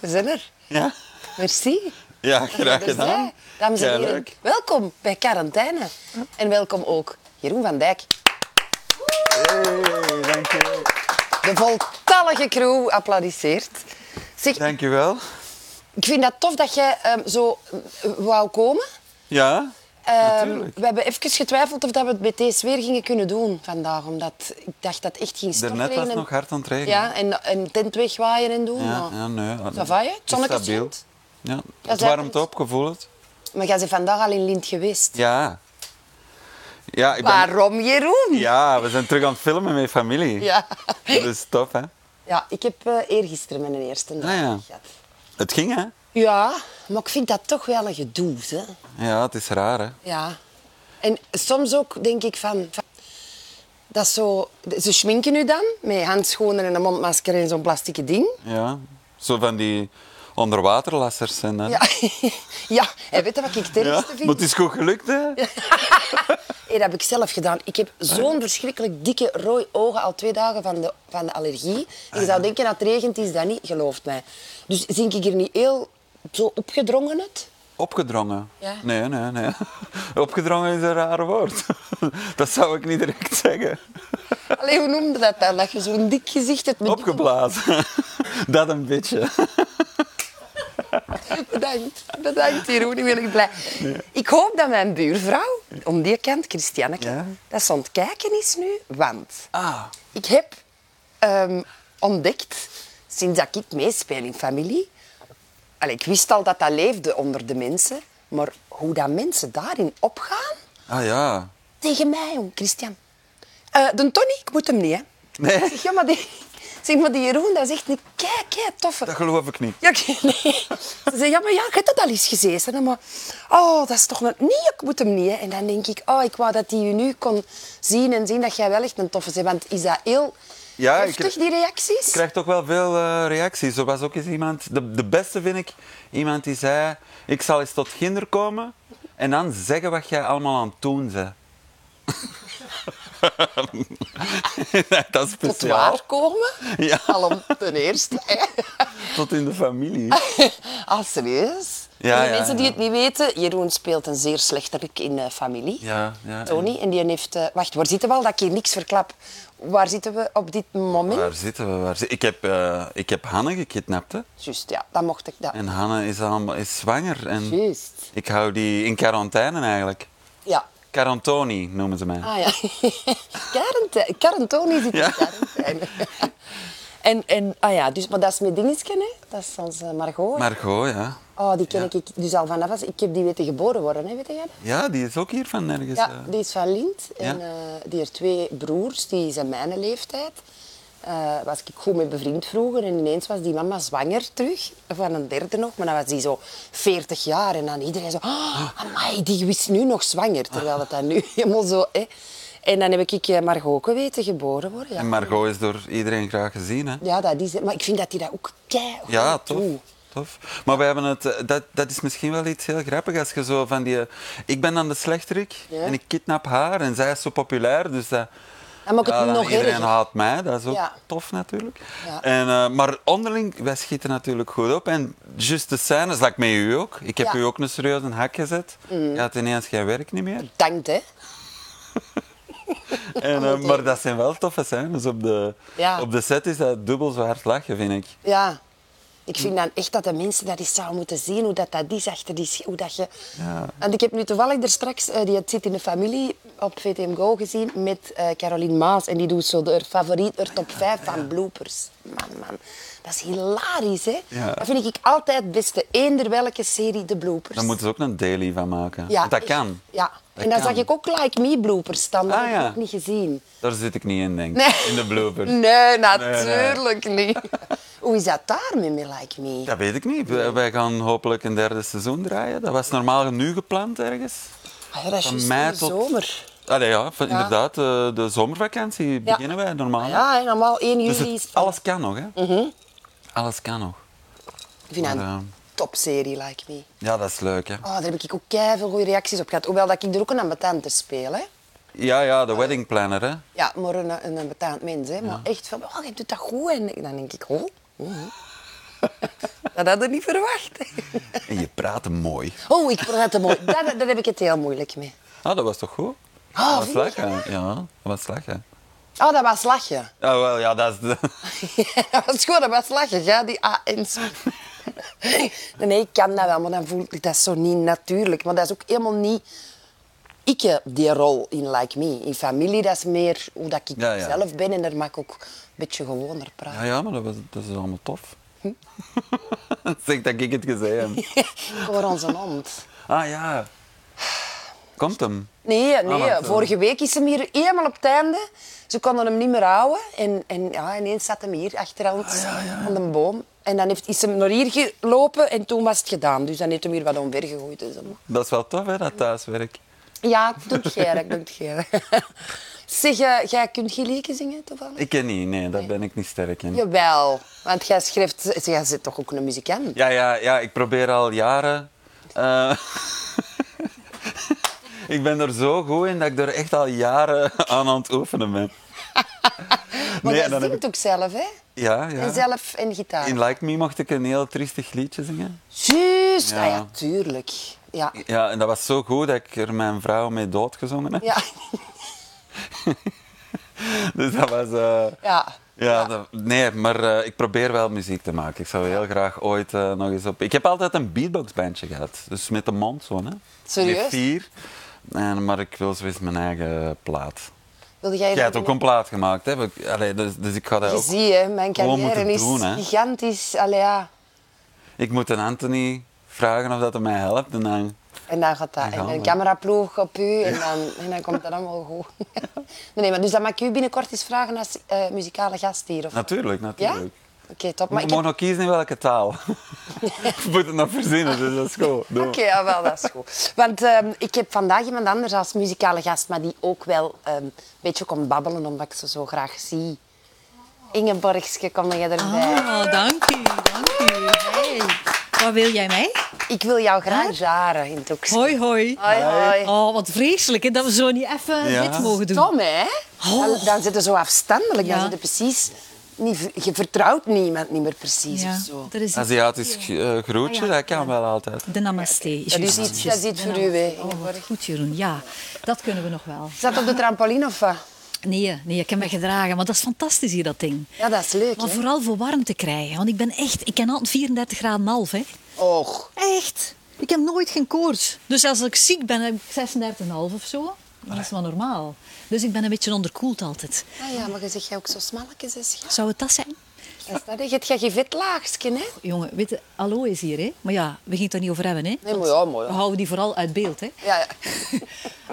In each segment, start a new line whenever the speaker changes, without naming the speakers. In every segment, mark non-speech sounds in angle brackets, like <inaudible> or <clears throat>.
We zijn er.
Ja?
Merci.
Ja, graag
Dus,
gedaan.
hè, dames en heren,
Keileuk.
welkom bij Quarantaine. En welkom ook Jeroen van Dijk,
Hey, dank je.
de voltallige crew applaudisseert. Zeg,
Dank je wel.
ik vind dat tof dat jij ehm, zo eh, wou komen.
Ja?
Ehm,
Natuurlijk.
we hebben even getwijfeld of dat we het met deze weer gingen kunnen doen vandaag. Omdat ik dacht dat het echt ging stortregenen.
Daarnet was het nog hard aan het regenen.
Ja, en, en tent wegwaaien en doen.
ja,
maar-
ja, nee. dat-
Ça va, hè? Het
is
zonnetje
stabiel.
schijnt.
Ja,
Dat
het
is
warmt
eigenlijk-
op, gevoel het.
Maar jij bent vandaag al in Lint geweest.
Ja. Ja, ik ben...
Waarom, Jeroen?
ja, we zijn terug aan het filmen met familie.
Ja.
Dat is tof, hè?
Ja, ik heb eh, eergisteren mijn eerste dag
Ah, ja.
gehad.
Het ging, hè?
Ja, maar ik vind dat toch wel een gedoe, hè.
Ja, het is raar, hè?
Ja. En soms ook denk ik van... van- dat is zo... Ze schminken u dan, met handschoenen en een mondmasker en zo'n plastieke ding.
Ja. Zo van die onderwaterlassers zijn dat.
Ja. <laughs> ja. En weet je wat ik het
Ja,
ergste
Maar het
vind?
is Ah, goed gelukt, hè?
<laughs> Hey, dat heb ik zelf gedaan. Ik heb zo'n verschrikkelijk dikke rooi ogen al twee dagen van de, van de allergie. En
Ah,
je zou denken dat het regent, is dat niet. Gelooft mij. Dus zink ik er niet heel zo opgedrongen uit?
Opgedrongen?
Ja.
Nee, nee, nee. <laughs> Opgedrongen is een raar woord. <laughs> Dat zou ik niet direct zeggen.
Allee, hoe noemde dat dan? Dat je zo'n dik gezicht hebt met
Opgeblazen. <laughs> Dat een beetje.
Bedankt. Bedankt, Jeroen. Ik ben echt blij. Ik hoop dat mijn buurvrouw, om die kant, Christianneke,
Ja?
dat ze aan het kijken is nu. Want
Ah.
ik heb ehm, ontdekt, sinds dat ik meespeel in familie... Allee, ik wist al dat dat leefde onder de mensen. Maar hoe dat mensen daarin opgaan...
Ah ja.
Tegen mij, jong, Christian. Eh, de Tony, ik moet hem niet, hè.
Nee.
Ik Zeg, ja, maar die, zeg, maar die Jeroen, dat is echt een kijk, hè, toffe.
Dat geloof ik niet.
Ja, ik- <laughs> nee. Ze zei, ja, maar ja, ik heb dat al eens gezeten. hè, Maar, oh, dat is toch een... Nee, ik moet hem niet. Hè. En dan denk ik, oh, ik wou dat hij je nu kon zien en zien dat jij wel echt een toffe bent. Want is dat heel
Ja, ik
heftig,
krijg-
die reacties?
Ik krijg toch wel veel eh, reacties. Er was ook eens iemand... De, de beste vind ik iemand die zei... Ik zal eens tot kinder komen en dan zeggen wat jij allemaal aan het doen
<laughs>
bent. <laughs> dat is
Tot
speciaal.
waar komen?
<laughs> Ja.
Al om ten eerste. Hè. <laughs>
Tot in de familie.
Ah, serieus?
Ja,
Voor de
ja,
mensen die
ja.
het niet weten, Jeroen speelt een zeer slechterik in eh, familie.
Ja, ja.
Tony, en die heeft... eh, wacht, waar zitten we al? Dat ik hier niks verklap. Waar zitten we op dit moment?
Waar zitten we? Waar zi- ik, heb, eh, ik heb Hanne gekidnapt. Hè?
Juist, ja, dat mocht ik... Dat.
En Hanne is, al, is zwanger. En
Juist.
ik hou die in quarantaine eigenlijk.
Ja,
Quarantoni noemen ze mij.
Ah ja, <laughs> quarantaine. Quarantoni zit <laughs>
Ja.
in quarantaine. En, en, ah ja, dus, maar dat is mijn dingetje, hè. Dat is onze Margot.
Margot, ja.
oh, die ken ik dus al vanaf. als- Ik heb die weten geboren worden, hè, weet je dat?
Ja, die is ook hier van nergens.
Ja,
eh.
die is van Lint. En
Ja.
eh, die heeft twee broers, die zijn mijn leeftijd. Eh, was ik goed mee bevriend vroeger en ineens was die mama zwanger terug, van een derde nog, maar dan was die zo 40 jaar en dan iedereen zo, oh, amai, die is nu nog zwanger, terwijl dat dan nu <laughs> helemaal zo... Hè. En dan heb ik eh, Margot ook weten geboren worden. Ja.
En Margot is door iedereen graag gezien. Hè?
ja, dat is het. Maar ik vind dat die dat ook keihard
Ja,
doet.
tof. tof. Maar we hebben het, eh, dat, dat is misschien wel iets heel grappigs als je zo van die. eh, Ik ben dan de slechterik
Ja.
en ik kidnap haar en zij is zo populair, dus dat.
Dan maakt het
Ja, dan
nog
iedereen
erger.
haat mij, dat is ook
Ja.
tof natuurlijk.
Ja.
En, eh, maar onderling, wij schieten natuurlijk goed op. En just de scènes, dat ik met u ook. Ik heb
Ja. Mm.
u ook een serieus een hak gezet. Je had ineens geen werk niet
<laughs>
meer.
Dankt, hè.
En, eh, maar dat zijn wel toffe scènes. Op de,
Ja.
op de set is dat dubbel zo hard lachen, vind ik.
Ja. Ik vind dan echt dat de mensen dat eens zouden moeten zien, hoe dat, dat is achter die... sch- Hoe dat je...
Ja.
Want ik heb nu toevallig er straks, eh, die het zit in de familie, op VTM Go gezien met eh Caroline Maas. En die doet zo de haar favoriet, haar top 5 van bloopers. Man, man. Dat is hilarisch, hè?
Ja.
Dat vind ik altijd het beste. Eender welke serie, de bloopers.
Daar moeten ze ook een daily van maken.
Ja,
Want dat
echt.
kan.
Ja.
Dat
en dan
kan.
zag ik ook Like Me bloopers staan. Dat
Ah,
heb ik
ja.
ook niet gezien.
Daar zit ik niet in, denk ik.
Nee.
In de bloopers.
Nee, natuurlijk
<laughs>
niet. Hoe is dat daar met Me Like Me?
Dat weet ik niet. Wij- Wij gaan hopelijk een derde seizoen draaien. Dat was normaal nu gepland ergens.
Ah, ja, dat is
Van
juist
mei
in de
tot-
zomer.
Allee, ja, van- inderdaad. De, de zomervakantie
Ja.
beginnen wij normaal.
Ja, en normaal 1 juli
Dus het-
is... Oh, Mhm. het-
alles kan nog, hè? Alles kan nog.
Ik vind dat
Maar,
een topserie, Like Me.
Ja, dat is leuk, hè?
Oh, daar heb ik ook veel goede reacties op gehad. Hoewel dat ik er ook een ambetant speel, hè.
Ja, ja, de wedding planner, hè?
Ja, maar een, een ambetant mens, hè. Maar echt van, oh, <laughs> je doet dat goed. En dan denk ik, oh. mhm. Dat had ik niet verwacht. <laughs>
En je praat mooi.
Oh, ik praat te mooi. Daar, daar heb ik het heel moeilijk mee.
Ah, dat was toch goed?
Ah,
dat was
vind je
lekker. Ja, dat was lekker.
Oh, dat was lachen.
Ah, wel, ja, dat is... de- <laughs>
<laughs> dat was gewoon, dat was lachen. Ga die AN's. nee, nee, ik kan dat wel, maar dan voel ik dat zo niet natuurlijk. Maar dat is ook helemaal niet... Ik heb die rol in Like Me. In familie, dat is meer hoe dat ik
Ja, ja.
zelf ben. En daar mag ik ook een beetje gewoner praten.
Ja, ja, maar dat, was, dat is allemaal tof.
Hm.
<laughs> zeg dat ik het gezegd
<laughs>
heb.
Voor onze hond.
Ah, ja. Komt hem.
Nee, nee.
want, eh,
vorige week is hem hier helemaal op het einde. Ze konden hem niet meer houden. En, en ja, ineens zat hem hier achter ons
Ah,
aan een boom. En dan heeft, is hem naar hier gelopen en toen was het gedaan. Dus dan heeft hem hier wat omver gegooid. Dus hem-
Dat is wel tof, hè, dat thuiswerk.
Ja, dank jij, dat dank jij. <laughs> Zeg, eh, jij kunt Gelieke zingen toevallig?
Ik ken niet, nee, daar ben ik niet sterk in.
Jawel, want jij schrijft... zeg, Jij zit toch ook een muzikant?
Ja, ja, ja, ik probeer al jaren. eh, <laughs> ik ben er zo goed in dat ik er echt al jaren aan aan het oefenen ben.
maar
nee,
jij
dan heb
zingt ook zelf, hè?
Ja, ja.
En zelf en gitaar.
In Like Me mocht ik een heel triestig liedje zingen.
Juist, ja.
Ja.
Ah, ja, tuurlijk. Ja.
Ja, en dat was zo goed dat ik er mijn vrouw mee doodgezongen heb.
Ja. <laughs>
<laughs> Dus dat was... eh,
ja.
Ja, dat- nee, maar eh, ik probeer wel muziek te maken. Ik zou heel graag ooit eh, nog eens op... Ik heb altijd een beatboxbandje gehad. Dus met de mond zo, hè.
Serieus?
Met vier. En, maar ik wil zoiets mijn eigen plaat.
Wil jij...
Jij hebt ook een plaat gemaakt, hè? We- Allee, dus, dus ik ga dat
Je
ook...
ziet, hè, mijn
gewoon
carrière
moeten
is
doen, hè.
gigantisch. Allee, ja.
Ik moet een Anthony vragen of dat hij mij helpt. En dan...
En dan gaat dat. En
gaan
een
we.
cameraploeg op u en dan, en dan komt dat allemaal goed. <laughs> nee, nee, maar dus dan mag ik u binnenkort eens vragen als eh, muzikale gast hier. Of...
Natuurlijk,
Ja?
natuurlijk.
Oké, top.
Maar
Maar
je
ik
mag
heb...
nog kiezen in welke taal. ik moet het nog verzinnen, dus dat is goed. Doe.
Oké, jawel, dat is goed. Want ehm, ik heb vandaag iemand anders als muzikale gast, maar die ook wel ehm, een beetje komt babbelen, omdat ik ze zo graag zie. Ingeborgske, kom jij erbij?
Oh, dank u, dank u. Hey. Wat wil jij mij?
Ik wil jou graag jaren in het ook.
Hoi, hoi.
Hoi, hoi.
Oh, wat vreselijk hè, dat we zo niet even
Ja.
dit mogen doen.
Tom, hè? Dan, dan zitten ze zo afstandelijk. Dan
Ja.
zitten precies... Niet, je vertrouwt niemand niet meer precies
Ja,
of zo.
er is iets.
Aziatisch eh, groetje,
Ah, ja.
dat kan wel altijd.
De namaste.
Dat is
juist,
iets, dat
juist.
is iets
De
voor u, hè,
namaste. Oh, wat
Ingeborg.
goed, Jeroen. Ja, dat kunnen we nog wel.
Zat op de trampoline of wat?
Nee, nee, ik heb me gedragen, want dat is fantastisch hier, dat ding.
Ja, dat is leuk,
Maar
hè?
vooral voor warm te krijgen, want ik ben echt... Ik ken altijd 34 graden half, hè.
Och.
Echt? Ik heb nooit geen koorts. Dus als ik ziek ben, heb ik 36,5 of zo. Dat is wel normaal. Dus ik ben een beetje onderkoeld altijd.
Ah ja, maar je zegt jij ook zo smalletjes, hè, schat?
Zou het dat zijn?
Dat is dat, hè? Je hebt geen vetlaagsje, hè?
Jongen, weet je, hallo is hier, hè? Maar ja, we gingen het daar niet over hebben, hè?
Nee, maar
Want
ja, maar ja.
We houden die vooral uit beeld, hè?
Ja, ja.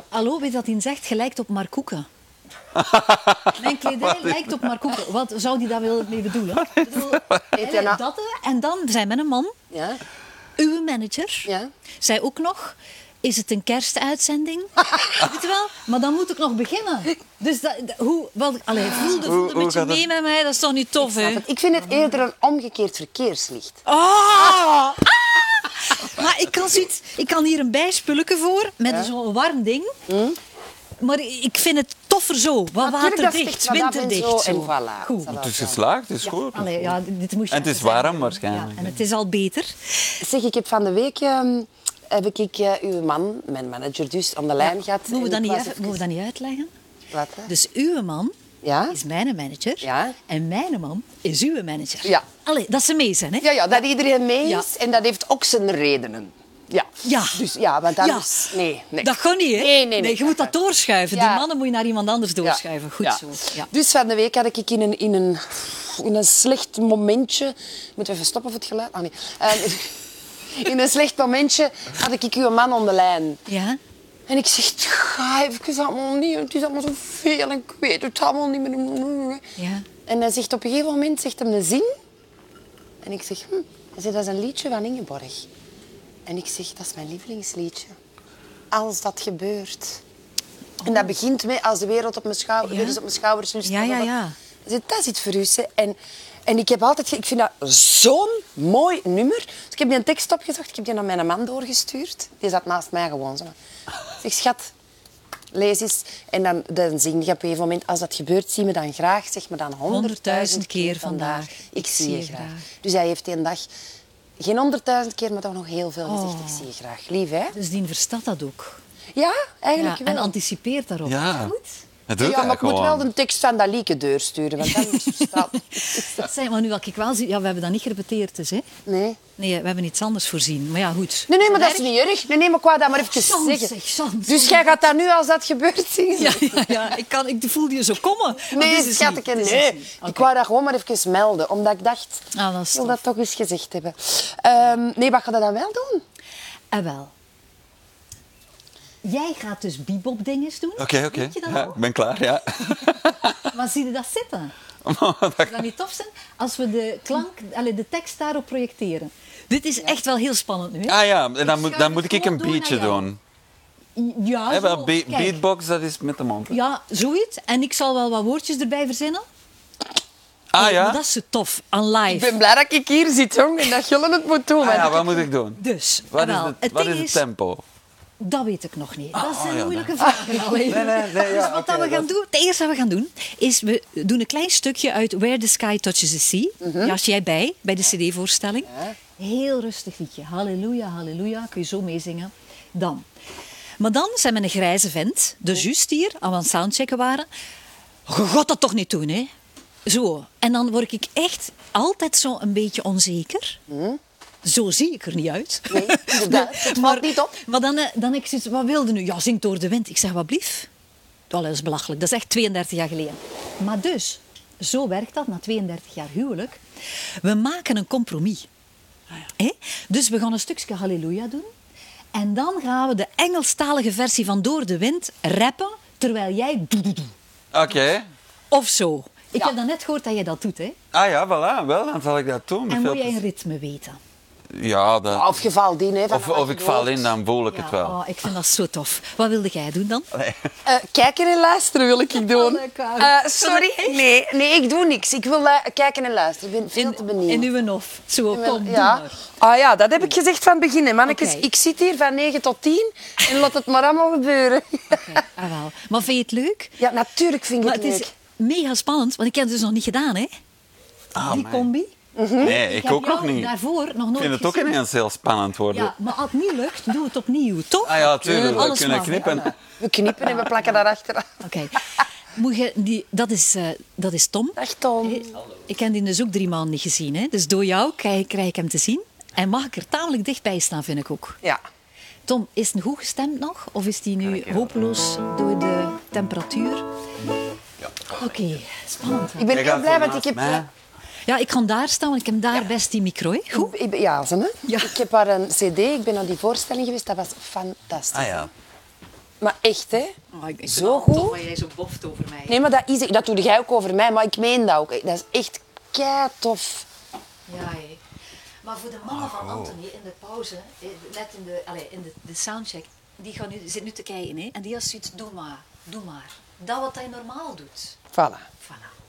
Hallo, weet je wat hij zegt? Gelijkt op Mark
<laughs>
Koeken. Mijn kledij lijkt op Mark Koeken. Wat zou die daar wel mee
<laughs>
bedoelen? Ik bedoel,
Eet je nou-
dat, hè? en dan zijn we een man,
Ja?
uw manager,
Ja.
zei ook nog... Is het een
<laughs>
kerstuitzending? Weet je wel? Maar dan moet ik nog beginnen. Dus dat, dat- hoe... Wel, allee, voelde,
Hoe-
voelde
hoe
een beetje
gaat het?
mee met mij. Dat is toch niet tof, hè?
Want ik vind het eerder een omgekeerd verkeerslicht.
Oh! Maar ik kan, zoiets, ik kan hier een bijspulletje voor met zo'n warm ding. Maar ik vind het toffer zo. Wat
Hmm? Natuurlijk, dat is echt
waterdicht,
wat af en
winterdicht.
zo
Zo.
en voilà.
Goed.
Dat
Het is geslaagd, het is goed.
Allee, ja, dit moest je
En het is
even zeggen.
warm waarschijnlijk,
Ja, en het is al beter.
Zeg, ik heb van de week... ehm, heb ik, ik eh, uw man, mijn manager dus, aan de lijn gehad.
Moeten we,
En ik
dat niet
was
even-
even-
moeten we dat niet uitleggen?
Wat, hè?
Dus uw man
Ja?
is mijn manager.
Ja.
En mijn man is uw manager.
Ja.
Allee, dat ze mee zijn, hè?
Ja, ja, dat iedereen mee
Ja.
is en dat heeft ook zijn redenen. Ja.
Ja.
Dus ja, want anders...
is
Nee, nee.
Dat gaat niet, hè?
Nee, nee, nee.
je moet dat doorschuiven.
Ja.
Die mannen moet je naar iemand anders
Ja.
doorschuiven. Goed
Ja.
zo. Ja.
Dus van de week had ik in een, in een, in een slecht momentje... Moeten we even stoppen voor het geluid? Ah, nee. Ehm, <laughs> in een slecht momentje had ik uw man aan de lijn.
ja.
En ik zeg, ga even allemaal niet, het is allemaal zoveel en ik weet het allemaal niet meer.
Ja.
En hij zegt op een gegeven moment zegt hem een zin. En ik zeg, hm. Hij zegt, dat is een liedje van Ingeborg. En ik zeg, dat is mijn lievelingsliedje. Als dat gebeurt. En dat begint met als de wereld op mijn schouders,
Ja.
op mijn schouders nu staat.
Ja, ja, ja.
Hij zegt, dat is iets voor u. hè. En, en ik heb altijd, ge- ik vind dat zo'n mooi nummer. Dus ik heb die een tekst opgezocht, ik heb die aan mijn man doorgestuurd. Die zat naast mij gewoon zo. Ik zeg, schat, lees eens. En dan, dan zing ik op een gegeven moment, als dat gebeurt, zie me dan graag, zeg me dan honderdduizend keer vandaag. Ik zie je graag. Dus hij heeft die een dag Geen honderdduizend keer, maar toch nog heel veel gezegd.
Oh.
Ik zie je graag. Lief, hè?
Dus die verstaat dat ook.
Ja, eigenlijk
Ja, en
wel.
anticipeert daarop.
Ja. Het doet
Ja, maar ik
eigenlijk
moet wel
gewoon.
de tekst van dat lieke deur sturen, want dan
<laughs>
is het verstaat.
Zeg, Dus maar nu wat ik wel zie... Ja, we hebben dat niet gerepeteerd, dus, hè?
Nee.
Nee, we hebben iets anders voorzien. Maar ja, goed.
Nee, nee, maar dat is niet erg. Nee, nee, maar ik wou dat maar even
Sam,
zeggen.
zeg, Sam,
dus
Sam.
jij gaat dat nu als dat gebeurt zien?
Ja, ja, ja. Ik, kan, ik voelde je zo komen. <laughs> Maar dit
Nee,
is
schatje,
niet. Dit is
nee.
niet.
Ik
Oké.
wou dat gewoon maar even melden, omdat ik dacht,
Ah, dat
ik
is
wil
tof.
dat toch eens gezegd hebben. Ehm, nee, wat ga je dan wel doen?
En Ah, wel. Jij gaat dus bebop dinges doen.
Oké, oké.
Weet je dat
Ja,
al?
ik ben klaar, ja.
Maar zie je dat
<laughs>
zitten? Zou dat niet tof zijn? Als we de klank, allee, de tekst daarop projecteren. Dit is echt wel heel spannend nu. Hè?
Ah ja, en dan, moet,
schuif
dan
het
moet ik
gewoon
een
door naar
beatje
jou.
doen.
Ja,
Hè,
zo,
wel, be-
kijk.
beatbox, dat is met de mond. hè?
Ja, zoiets. En ik zal wel wat woordjes erbij verzinnen.
Ah
Nee,
ja?
Maar dat is zo tof, aan live.
Ik ben blij dat ik hier zit, jong, en dat jullie het moet doen.
Ah ja,
want
wat moet ik doen?
Dus,
Wat is
jawel,
het,
het
wat
ding
is het tempo?
Dat weet ik nog niet. Dat
oh,
zijn
ja,
moeilijke vragen al even.
Nee, nee, nee, ja,
dus wat
oké,
dat we gaan
dat-
doen, het eerste wat we gaan doen, is we doen een klein stukje uit Where the Sky Touches the Sea.
Mhm.
Ja, als jij bij, bij de cd-voorstelling. Heel rustig liedje. Halleluja, halleluja. Kun je zo meezingen. Dan. Maar dan zijn we een grijze vent. Dus juist hier, al we aan het soundchecken waren. Je gaat dat toch niet doen, hè? Zo. En dan word ik echt altijd zo een beetje onzeker. Zo zie ik er niet uit.
Hmm?
<laughs>
Nee, inderdaad. Het valt niet op.
Maar dan, eh, dan ik zoiets, wat wilde nu? Ja, zingt door de wind. Ik zeg, wat blief? Wel, dat is belachelijk. Dat is echt 32 jaar geleden. Maar dus, zo werkt dat na 32 jaar huwelijk. We maken een compromis. Hè? Dus we gaan een stukje Halleluja doen. En dan gaan we de Engelstalige versie van Door de Wind rappen, terwijl jij doe, doe, doe.
Oké.
Of zo. Ik
Ja.
heb dan net gehoord dat jij dat doet, hè?
Ah ja, voilà, wel, dan zal ik dat doen. met
En
veel
moet jij een
plezier.
ritme weten.
Ja, dat...
Ah, Of je valt in, hè, van
of,
wat
of
je
ik val
hoort.
in, dan voel ik
Ja,
het wel.
oh, ik vind dat zo tof. Wat wilde jij doen dan?
Nee.
Eh, kijken en luisteren wil ik doen.
<laughs> Oh, lekker.
Eh, sorry? Nee, nee, ik doe niks. Ik wil eh, kijken en luisteren. Ik ben veel te benieuwd.
In uw hof. Zo, kom, doe
ja.
maar.
Ah ja, dat heb ik gezegd van het begin. hè, Mannetjes,
Oké.
ik zit hier van 9 tot 10 en laat het maar allemaal gebeuren.
Oké, ah, wel. Maar vind je het leuk?
Ja, natuurlijk vind ik
Maar
het
het
leuk.
is mega spannend, want ik heb het dus nog niet gedaan, hè? die
Ah, man.
combi.
Nee, ik,
heb
ook nog
jou
niet.
daarvoor nog nooit
ik vind het ook
gezien.
ineens heel spannend worden.
Ja, maar als het niet lukt, doe het opnieuw, toch?
Ah ja, tuurlijk, we
Alles
kunnen
mag, hè,
knippen.
Anna?
<laughs> We knippen en we plakken daar achteraan.
Oké. Moet je die, dat, is, eh, dat is Tom.
Dag Tom.
Ik heb die dus ook drie maanden niet gezien. Hè? Dus door jou krijg, krijg ik hem te zien. En mag ik er tamelijk dichtbij staan, vind ik ook.
Ja.
Tom, is het goed gestemd nog? Of is die nu
eh,
hopeloos door de temperatuur? Oké, spannend. hè?
Ik ben
Jij
heel
gaat
blij, want ik
naast
heb...
mij.
Ja, ik ga daar staan, want ik heb daar best die micro. Hè? Goed?
Ik- Ik ben, ja, ze, hè?
Ja.
Ik heb haar een cd, ik ben naar die voorstelling geweest, dat was fantastisch.
Ah ja.
Maar echt, hè?
Oh, ik- ik vind
Zo
het
goed?
tof dat jij zo boft over mij.
Nee, maar dat, is, dat doe jij ook over mij, maar ik meen dat ook. Dat is echt kei tof.
Ja, hé. Maar voor de mannen van Anthony in de pauze, eh, net in de, allee, in de, de soundcheck, die gaan nu, zit nu te kijken. Hè? En die had zoiets, doe maar, doe maar. Dat wat hij normaal doet.
Voilà.
Voilà.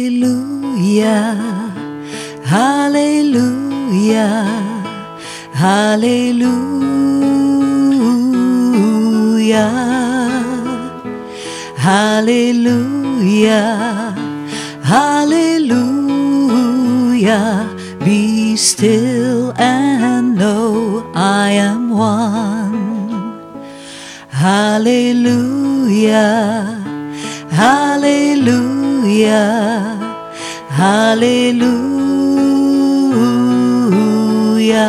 Halleluja, halleluja, halleluja, halleluja, halleluja. Be still and know I am one. Hallelujah, hallelujah, hallelujah,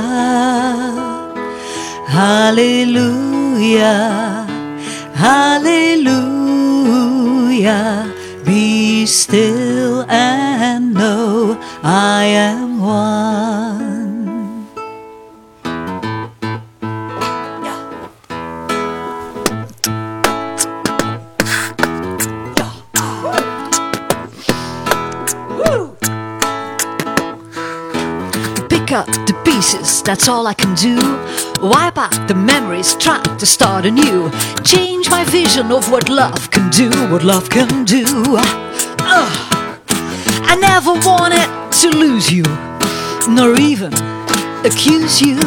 hallelujah, hallelujah. Be still and know I am one.
Pick
pick up the pieces, that's all I can do. Wipe out the memories, try to start anew. Change my vision of what love can do, what love can do. Ugh. I never wanted to lose you, nor even accuse you.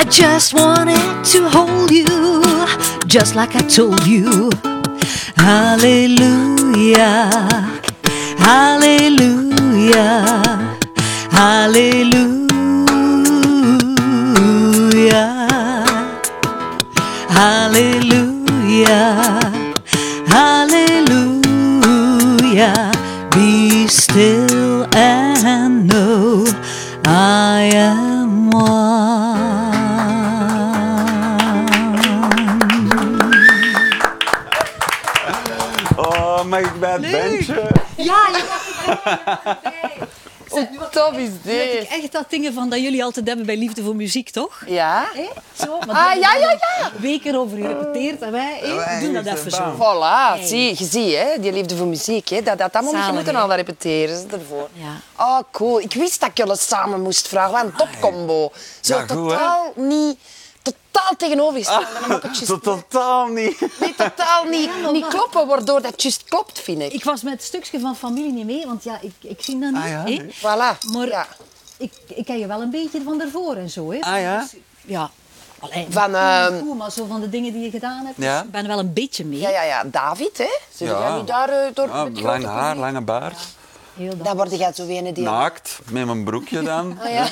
I just wanted to hold you, just like I told you. Hallelujah, hallelujah, hallelujah. Hallelujah, hallelujah. Be still and know I am one.
Oh, mag ik bij het bandje?
Ja, ja,
Top is dit.
echt dat dingen van dat jullie altijd hebben bij Liefde voor Muziek, toch?
Ja?
Hè? Zo, maar
Ah, ja, ja, ja.
Weken over gerepeteerd en wij, hè, we doen dat
Wij
even zo.
Voilà, zie, je ziet, hè, die liefde voor muziek. Hè, dat had allemaal niet
Samen,
moeten
hè?
al repeteren. Ze ervoor.
Ja.
Oh, cool. Ik wist dat ik jullie samen moest vragen. Wat een topcombo. Zo
Ja, goed, hè?
totaal niet... Totaal tegenovergesteld. Dan maak ik het
Zo
juist-
totaal niet.
nee, totaal niet, niet kloppen, waardoor dat juist klopt, vind ik.
Ik was met het stukje van familie niet mee, want ja, ik, ik zie dat niet.
Ah, ja,
hè.
nee.
Voilà.
Maar
Ja.
ik, ik ken je wel een beetje van daarvoor en zo. Hè?
Ah, ja?
Dus, ja. Alleen,
Van, ehm,
goed, maar zo van de dingen die je gedaan hebt,
Ja.
dus ik ben wel een beetje mee.
Ja, ja, ja. David, hè? Zul
Ja.
jij nu daar eh, door...
Ja,
met grote
Ah, lang haar, Nou.
publiek?
lange baard.
Heel dat.
Dan word jij zo ene die...
Naakt, met mijn broekje
Oh,
dan.
Ah, ja.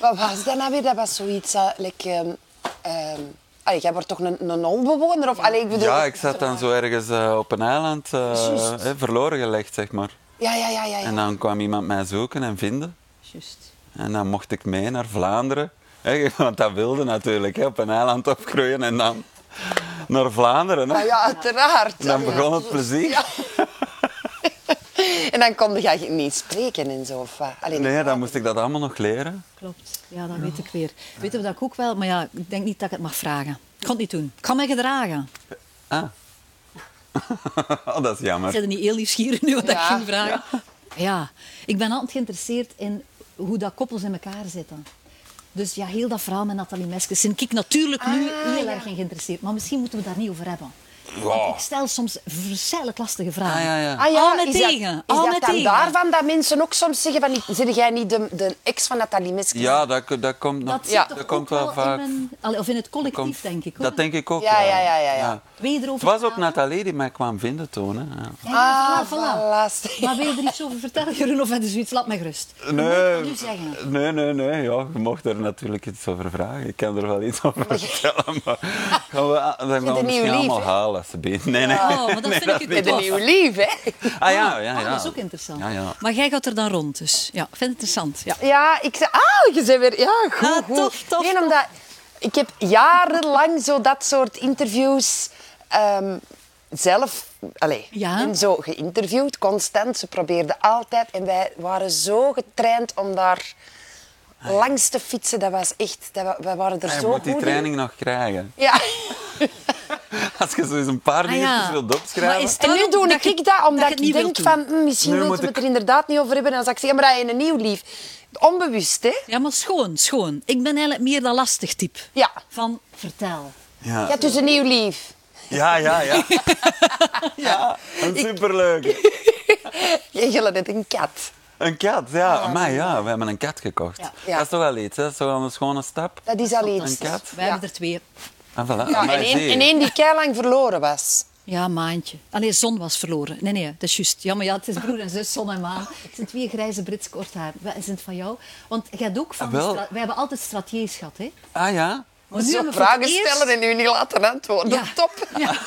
Wat was dat nou weer? Dat was zoiets... eh, like, ehm, ehm, allee, jij wordt toch een, een onbewoner? Of, allee, ik bedoel,
Ja, ik zat dan zo ergens eh, op een eiland eh, hè, verloren gelegd, zeg maar.
ja, ja, ja, ja, ja.
En dan kwam iemand mij zoeken en vinden.
Juist.
En dan mocht ik mee naar Vlaanderen. Hè, <laughs> Want dat wilde natuurlijk, hè, op een eiland opgroeien en dan naar Vlaanderen. hè.
Ah,
Nou ja, uiteraard.
Dan begon het plezier.
Ja. En dan kon je niet spreken en zo. Of wat? Allee,
Nee, dan moest ik dat allemaal nog leren. <laughs>
Klopt. Ja, dat weet ik weer. Weet je dat ik ook wel, maar ja, ik denk niet dat ik het mag vragen. Ik kan het niet doen. Ik kan mij gedragen.
Ah. Oh, dat is
Ik
jammer.
ben er niet heel nieuwsgierig nu wat ik
Ja.
ging vragen. Ja. ik ben altijd geïnteresseerd in hoe dat koppels in elkaar zitten. Dus ja, heel dat verhaal met Nathalie Meskes ben ik natuurlijk
Ah,
nu heel erg in geïnteresseerd. Maar misschien moeten we daar niet over hebben. Want ik stel soms verschrikkelijk lastige vragen.
Ah, ja, ja.
Ah ja,
Al met
is dat,
tegen,
Is
al
dat
met
dan
tegen.
daarvan dat mensen ook soms zeggen van... niet- Zit jij niet de, de ex van Nathalie Miske?
Ja, dat, dat komt nog.
Dat zit
Ja.
toch
dat
ook
komt wel
wel
vaak.
in mijn- Allee, of in het collectief,
Komt-
denk ik. hoor.
Dat denk ik ook.
Ja, ja, ja, ja, ja.
Wil je
Het
erover
was ook
praten?
Nathalie die mij kwam vinden toen. Hè. Ja.
Ja,
Ah,
voilà, voilà.
voilà. <laughs>
Maar wil je er iets over vertellen, Jeroen, of heb je zoiets? Laat mij gerust. Je moet het nu zeggen.
nee, nee, nee. Ja, je mocht er natuurlijk iets over vragen. Ik kan er wel iets over vertellen,
<laughs>
maar gaan we, dat gaan we
nieuwe
misschien
lief,
allemaal
hè?
halen, alsjeblieft. Nee, nee.
Oh, maar dat vind ik
Met
het
een
wel.
nieuw lief, hè?
Ah ja, ja,
Ah,
ja.
dat is ook interessant.
Ja, ja.
Maar jij gaat er dan rond, dus. Ja, ik vind het interessant. Ja.
Ja, ik zei... Ah, je zei weer... Ja, goed,
Ah,
goed.
tof, tof,
Nee,
tof.
omdat... Ik heb jarenlang zo dat soort interviews ehm, zelf... Allee,
Ja.
en zo geïnterviewd, constant. Ze probeerden altijd. En wij waren zo getraind om daar
Ah,
langs te fietsen. Dat was echt... Dat, wa- wij waren er
Ah, Je
zo
moet die
goed in.
training nog krijgen.
Ja.
<laughs>
Als je zo eens een paar
Ah,
dingetjes
ja.
wilt
Maar
opschrijven.
is het
En nu
daarom
doe
dat
ik, dat
je- dat
omdat
je het
ik
niet
denk
wilt doen?
van... hm, misschien
Nu
willen
moet
we het
ik-
er inderdaad niet over hebben. En dan zeg ik, ja, maar dat je een nieuw lief... Onbewust, hè?
Ja, maar schoon, schoon. Ik ben eigenlijk meer dat lastig type.
Ja.
Van vertel.
Je
Ja,
hebt dus een nieuw lief.
ja, ja.
<laughs>
Ja, ja. een superleuk.
<laughs>
Je gillen net een kat.
Een kat, ja. Maar ja, we hebben een kat gekocht.
Ja.
Ah, Ja.
Dat is toch wel iets, hè? Dat is toch wel een schone stap.
Dat is al iets.
Een kat.
Wij
Ja.
hebben er twee.
En voilà.
Ja,
Amai,
en
zie
één,
je.
en één die keilang verloren was.
Ja, maandje. Alleen zon was verloren. Nee, nee, dat is juist. Ja, maar ja, het is broer en zus, zon en maan. Het zijn twee grijze Brits kort haar. Wat is het van jou? Want jij hebt ook van...
Ah, wel.
stra- Wij hebben altijd strategisch gehad, hè?
Ah ja?
Maar
Zo
hebben we voor het
vragen
eerst-
stellen en u niet laten antwoorden.
Ja.
Top.
<laughs> Ja.
<laughs>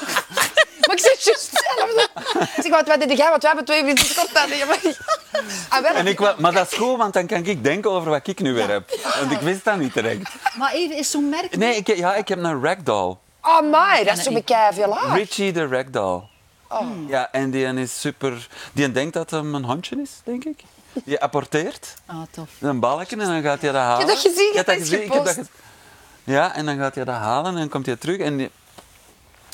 Maar ik zeg juist hetzelfde. Ik zeg, wat, wat deed jij? Want wij hebben twee minuten kort aan. Ja, maar- <laughs> Ah, wel,
En ik, wa- maar dat is goed, want dan kan ik denken over wat ik nu weer heb. Want ik wist dat niet direct.
Maar even, is zo'n merk...
Nee, ik, ja, ik heb een ragdoll.
Oh my, dat is
Ja,
zo
nee.
bekei veel haar.
Richie de ragdoll.
Oh.
Ja, en die een is super... Die een denkt dat hem een hondje is, denk ik. Die apporteert
Ah, tof.
een balken en dan gaat hij dat halen.
dat gezien?
Ik heb
Dat is
Ik heb dat
gepost.
ge- Ja, en dan gaat hij dat halen en dan komt hij terug. En die,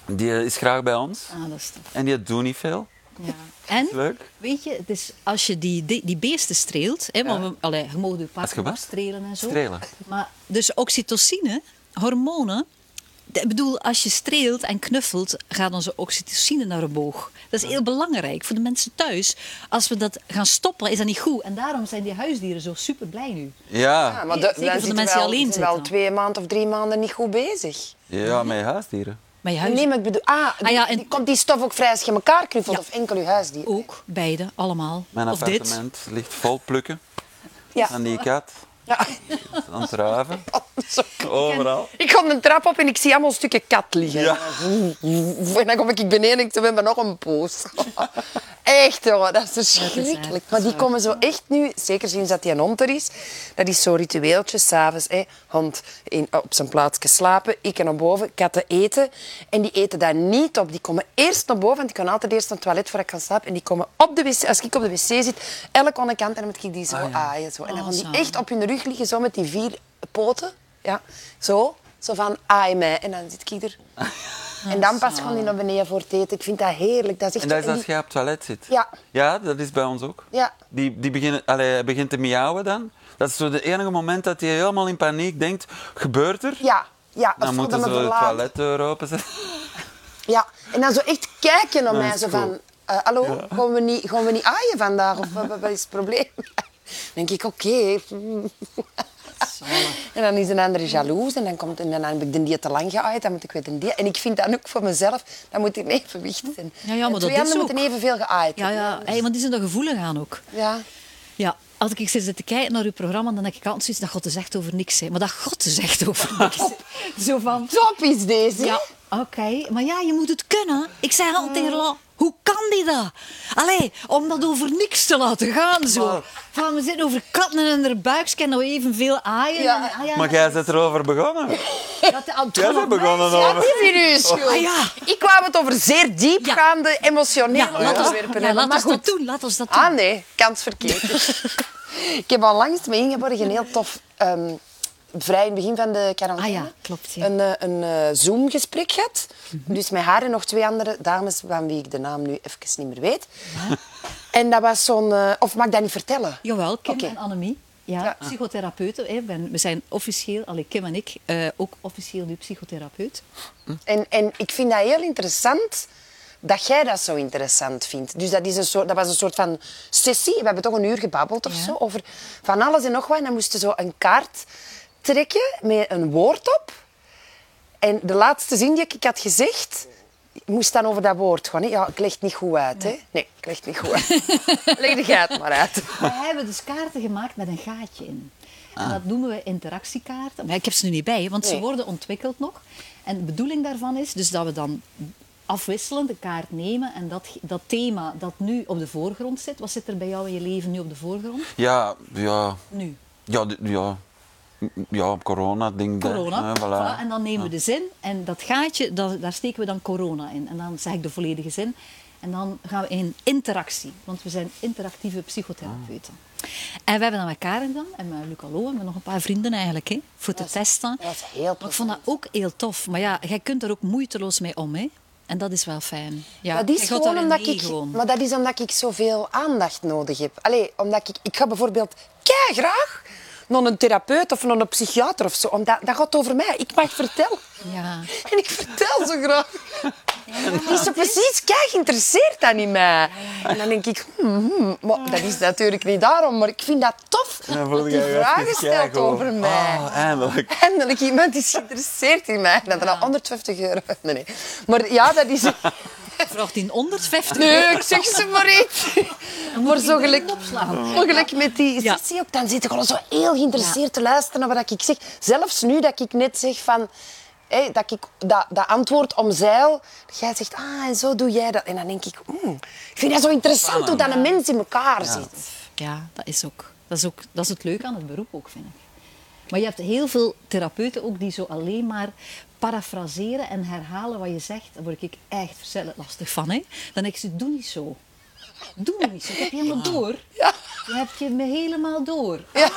die is graag bij ons.
Ah, dat is tof.
En die doet niet veel.
Ja. En,
Leuk.
weet je, het is als je die, die, die beesten streelt, hè, want we, allee, je mag je
Als je
pakken
wat?
maar strelen en zo.
Strelen.
Maar, dus oxytocine, hormonen, de- ik bedoel, als je streelt en knuffelt, gaat onze oxytocine naar omhoog. Dat is heel belangrijk voor de mensen thuis. Als we dat gaan stoppen, is dat niet goed. En daarom zijn die huisdieren zo super blij nu.
Ja,
Ja,
maar
Ja,
da-
zeker
dan
voor de
zitten
mensen
wel,
die alleen
zitten wel
zitten.
twee maanden of drie maanden niet goed bezig.
ja met huisdieren.
Maar je huis
Nee, maar ik bedoel... Ah, die-
ja, en-
die- komt die stof ook vrij als je elkaar knuffelt
Ja.
of enkel je huisdier?
ook, beide, allemaal.
Mijn
of dit.
appartement ligt vol plukken
Ja.
aan die kat.
<laughs> Ja.
Aan het ruiven.
Zo.
Overal.
Ik kom de trap op en ik zie allemaal stukken kat liggen.
Ja.
En dan kom ik beneden en ik zeg, we hebben nog een poos. <laughs> Echt hoor, dat is verschrikkelijk.
dat is
maar die
waar.
komen zo echt nu, zeker sinds dat die een hond er is, dat is zo'n ritueeltje s'avonds. hè. Hond in, op zijn plaatsje slapen, ik naar boven, katten eten. En die eten daar niet op. Die komen eerst naar boven, want ik kan altijd eerst naar het toilet voor ik kan slapen. En die komen op de wc, als ik op de wc zit, elk aan de kant en dan moet ik die zo
Ah,
aaien. Zo. En dan
Oh,
gaan die
zo.
echt op hun rug liggen, zo met die vier poten. Ja, zo. Zo van, aai mij. En dan zit
<laughs>
ik er. En dan pas gewoon die naar beneden voor het eten. Ik vind dat heerlijk. Dat is echt
Oh, En dat is
zo- en
als
die-
jij op het toilet zit.
Ja.
Ja, dat is bij ons ook.
Ja.
Die, die beginnen, allee, hij begint te miauwen dan. Dat is zo het enige moment dat hij helemaal in paniek denkt, gebeurt er?
Ja, ja.
Dan
of
moeten
dat
ze
me
de
verlaat.
toiletdeur openzetten.
Ja. En dan zo echt kijken naar
Dat
mij.
is
Zo
cool.
van, eh, hallo, gaan, we niet, gaan we niet aaien vandaag? Of wat, wat- wat is het probleem? <laughs> Dan denk ik, oké. <laughs> En dan is een andere jaloers en dan, komt, en dan heb ik de die te lang geaaid, dan moet ik weer een die. En ik vind dat ook voor mezelf, dan moet ik een evenwicht zijn.
Ja, ja,
En
maar dat
twee
is
handen
ook.
moeten evenveel geaaid
Ja, ja. Hey, want die zijn er gevoelig aan ook.
ja.
Ja, als ik zit te kijken naar uw programma, dan denk ik altijd zoiets dat God er zegt over niks. Hè. Maar dat God er zegt over niks. Zo van...
Top is deze.
Ja, oké. Maar ja, je moet het kunnen. Ik zei altijd tegen Roland, hoe kan die dat? Allee, om dat over niks te laten gaan zo. Van, we zitten over katten en haar buikjes en nou evenveel aaien.
Ja.
En, ah ja,
Maar jij bent erover begonnen.
dat, dat, dat-
Jij bent begonnen
Ja,
over...
die is hier uw schuld.
Ah, ja.
Ik kwam het over zeer diepgaande,
Ja,
emotionele
laat ons,
onderwerpen
ja,
hebben.
laat
Maar
ons
goed.
dat doen. Laat ons dat doen.
Ah nee, kans
<laughs>
verkeerd. ik heb onlangs met Ingeborg een heel tof, ehm, vrij in het begin van de quarantaine,
Ah ja, klopt, ja. Mhm.
een, eh, een eh, Zoom-gesprek gehad. Dus met haar en nog twee andere dames van wie ik de naam nu even niet meer weet. En dat was zo'n... eh, of mag ik dat niet vertellen?
Jawel, Kim
Oké.
en Annemie. Ja,
Ja.
psychotherapeuten. Hè. Ben- We zijn officieel, allee, Kim en ik, eh, ook officieel nu psychotherapeut.
En, en ik vind dat heel interessant dat jij dat zo interessant vindt. Dus dat, is een soort, dat was een soort van sessie. We hebben toch een uur gebabbeld of
Ja.
zo over van alles en nog wat. En dan moesten zo een kaart trekken met een woord op. En de laatste zin die ik had gezegd, moest dan over dat woord gaan. Hè? Ja, ik leg het niet goed uit. Hè? Nee, ik leg het niet goed uit. <laughs> leg de geit maar uit.
We hebben dus kaarten gemaakt met een gaatje in. En dat noemen we interactiekaarten. Maar ik heb ze nu niet bij, want ze
Nee.
worden ontwikkeld nog. En de bedoeling daarvan is dus dat we dan afwisselend een kaart nemen en dat, dat thema dat nu op de voorgrond zit, wat zit er bij jou in je leven nu op de voorgrond?
Ja, ja.
Nu.
Ja, d- ja. Ja, corona, ding. dat.
Corona.
Eh,
Voilà. En
voilà.
dan nemen we de zin en dat gaatje, dat, daar steken we dan corona in. En dan zeg ik de volledige zin. En dan gaan we in interactie, want we zijn interactieve psychotherapeuten.
Ah.
En we hebben dat met Karen gedaan en met Luc Allo en met nog een paar vrienden eigenlijk, hè, voor te testen.
dat is heel
maar ik vond dat ook heel tof. Maar ja, jij kunt er ook moeiteloos mee om, hè. En dat is wel fijn. Ja,
dat is
jij gaat
gewoon
daarin
omdat
mee
ik,
gewoon.
Maar dat is omdat ik zoveel aandacht nodig heb. Allee, omdat ik, ik ga bijvoorbeeld kei graag naar een therapeut of naar een psychiater of zo. Omdat, dat gaat over mij. Ik mag vertellen.
Ja.
En ik vertel zo graag. Die is zo precies kei geïnteresseerd dan in mij. En dan denk ik, hmm, hmm, maar dat is natuurlijk niet daarom, maar ik vind dat tof
Dan
dat
voelde
die
jij je
vragen
even
stelt
keigoed.
over mij.
Ah, eindelijk.
Eindelijk iemand is geïnteresseerd in mij. Dat er al 150 euro... Nee, nee. Maar ja, dat is...
Vraagt in
<laughs>
150
Nee, ik zeg ze maar niet. Maar zo gelijk,
opslaan.
zo gelijk met die
Ja.
sessie ook, dan zit ik gewoon zo heel geïnteresseerd te luisteren naar wat ik zeg. Zelfs nu dat ik net zeg van... hé, dat ik dat, dat antwoord omzeil, dat jij zegt, ah, en zo doe jij dat. En dan denk ik, oeh, ik vind dat zo interessant hoe dat een mens in elkaar zit.
Ja, dat is ook. Dat is, ook, dat is het leuke aan het beroep ook, vind ik. Maar je hebt heel veel therapeuten ook die zo alleen maar parafraseren en herhalen wat je zegt. Daar word ik echt verschrikkelijk lastig van, hè. Dan denk ik, ze, doe niet zo. Doe niet zo. Ik heb je helemaal door.
Ja.
Je hebt je me helemaal door. Ah,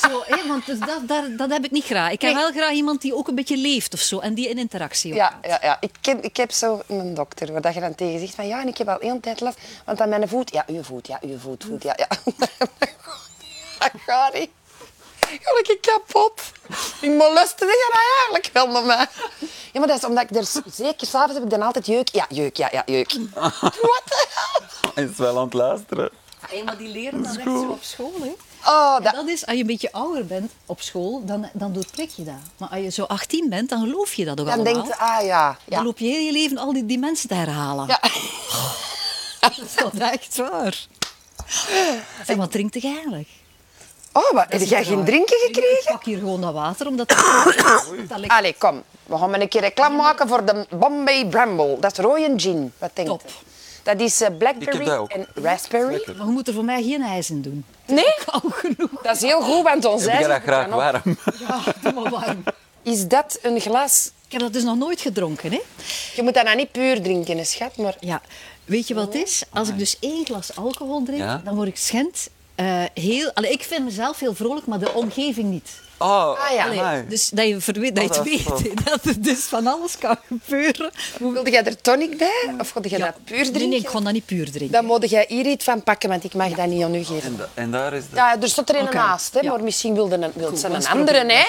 zo, hè, want dus dat, dat, dat heb ik niet graag. Ik heb
Nee.
wel graag iemand die ook een beetje leeft of zo en die in interactie ook
Ja,
gaat.
ja, ja. Ik, ken, ik heb zo een dokter waar dat je dan tegen zegt van ja, en ik heb al heel de tijd last, want aan mijn voet, ja, uw voet, ja, uw voet, voet, ja, <laughs> ja. Dat gaat niet. Ga ik kapot. Ik molesten je dat nou eigenlijk wel met mij. Ja, maar dat is omdat ik er z- zeker s'avonds heb ik dan altijd jeuk. Ja, jeuk, ja, ja, jeuk. What the hell?
Hij is wel aan het luisteren.
Eenmaal die leren dan echt
cool.
zo op school. Hè.
Oh,
En
dat,
Ah, dat is, als je een beetje ouder bent op school, dan, dan doortrek je dat. Maar als je zo 18 bent, dan geloof je dat ook
dan
allemaal.
denkt je, ah ja, ja.
Dan loop je heel je leven al die, die mensen te herhalen.
Ja.
<laughs> Dat is toch echt waar. Zeg, wat drinkt jij eigenlijk?
Oh, wat, heb jij geen drinken
Ik
gekregen?
pak hier gewoon dat <coughs> water,
<coughs>
omdat dat ligt
Allee, kom. We gaan maar een keer reclame
Mhm.
maken voor de Bombay Bramble. Dat is rode gin. Wat denk je?
Top.
Dat is eh, blackberry
Ik heb dat ook.
en raspberry.
Lekker.
Maar je moet er voor mij geen ijs in doen. <laughs>
Nee,
Koud genoeg.
dat is heel goed, want ons
Heb jij dat
ijs
graag warm? <laughs>
<laughs> Ja, doe maar warm.
is dat een glas.
Ik heb dat dus nog nooit gedronken, hè?
Je moet dat nou niet puur drinken, hè, schat, maar
Ja. Weet je wat het is? Als ik dus één glas alcohol drink,
Oh. Ja.
dan word ik schend. eh, heel, allee, ik vind mezelf heel vrolijk, maar de omgeving niet.
Oh,
Ah, ja.
amai.
Allee, dus dat je, verwe- dat je
Oh,
het
dat is
weet, hè, <laughs> dat er dus van alles kan gebeuren. Hoe-
wilde jij er tonic bij? Of wilde jij
Ja.
dat puur drinken?
Nee, nee, ik kon dat niet puur drinken.
Dan moet jij hier iets van pakken, want ik mag dat niet aan u geven.
En, da- en daar is de...
Ja, er stond er een
Oké.
naast, hè,
Ja.
maar misschien wilde een, wilde ze
dat
een
is
andere.
probleem.
Hè.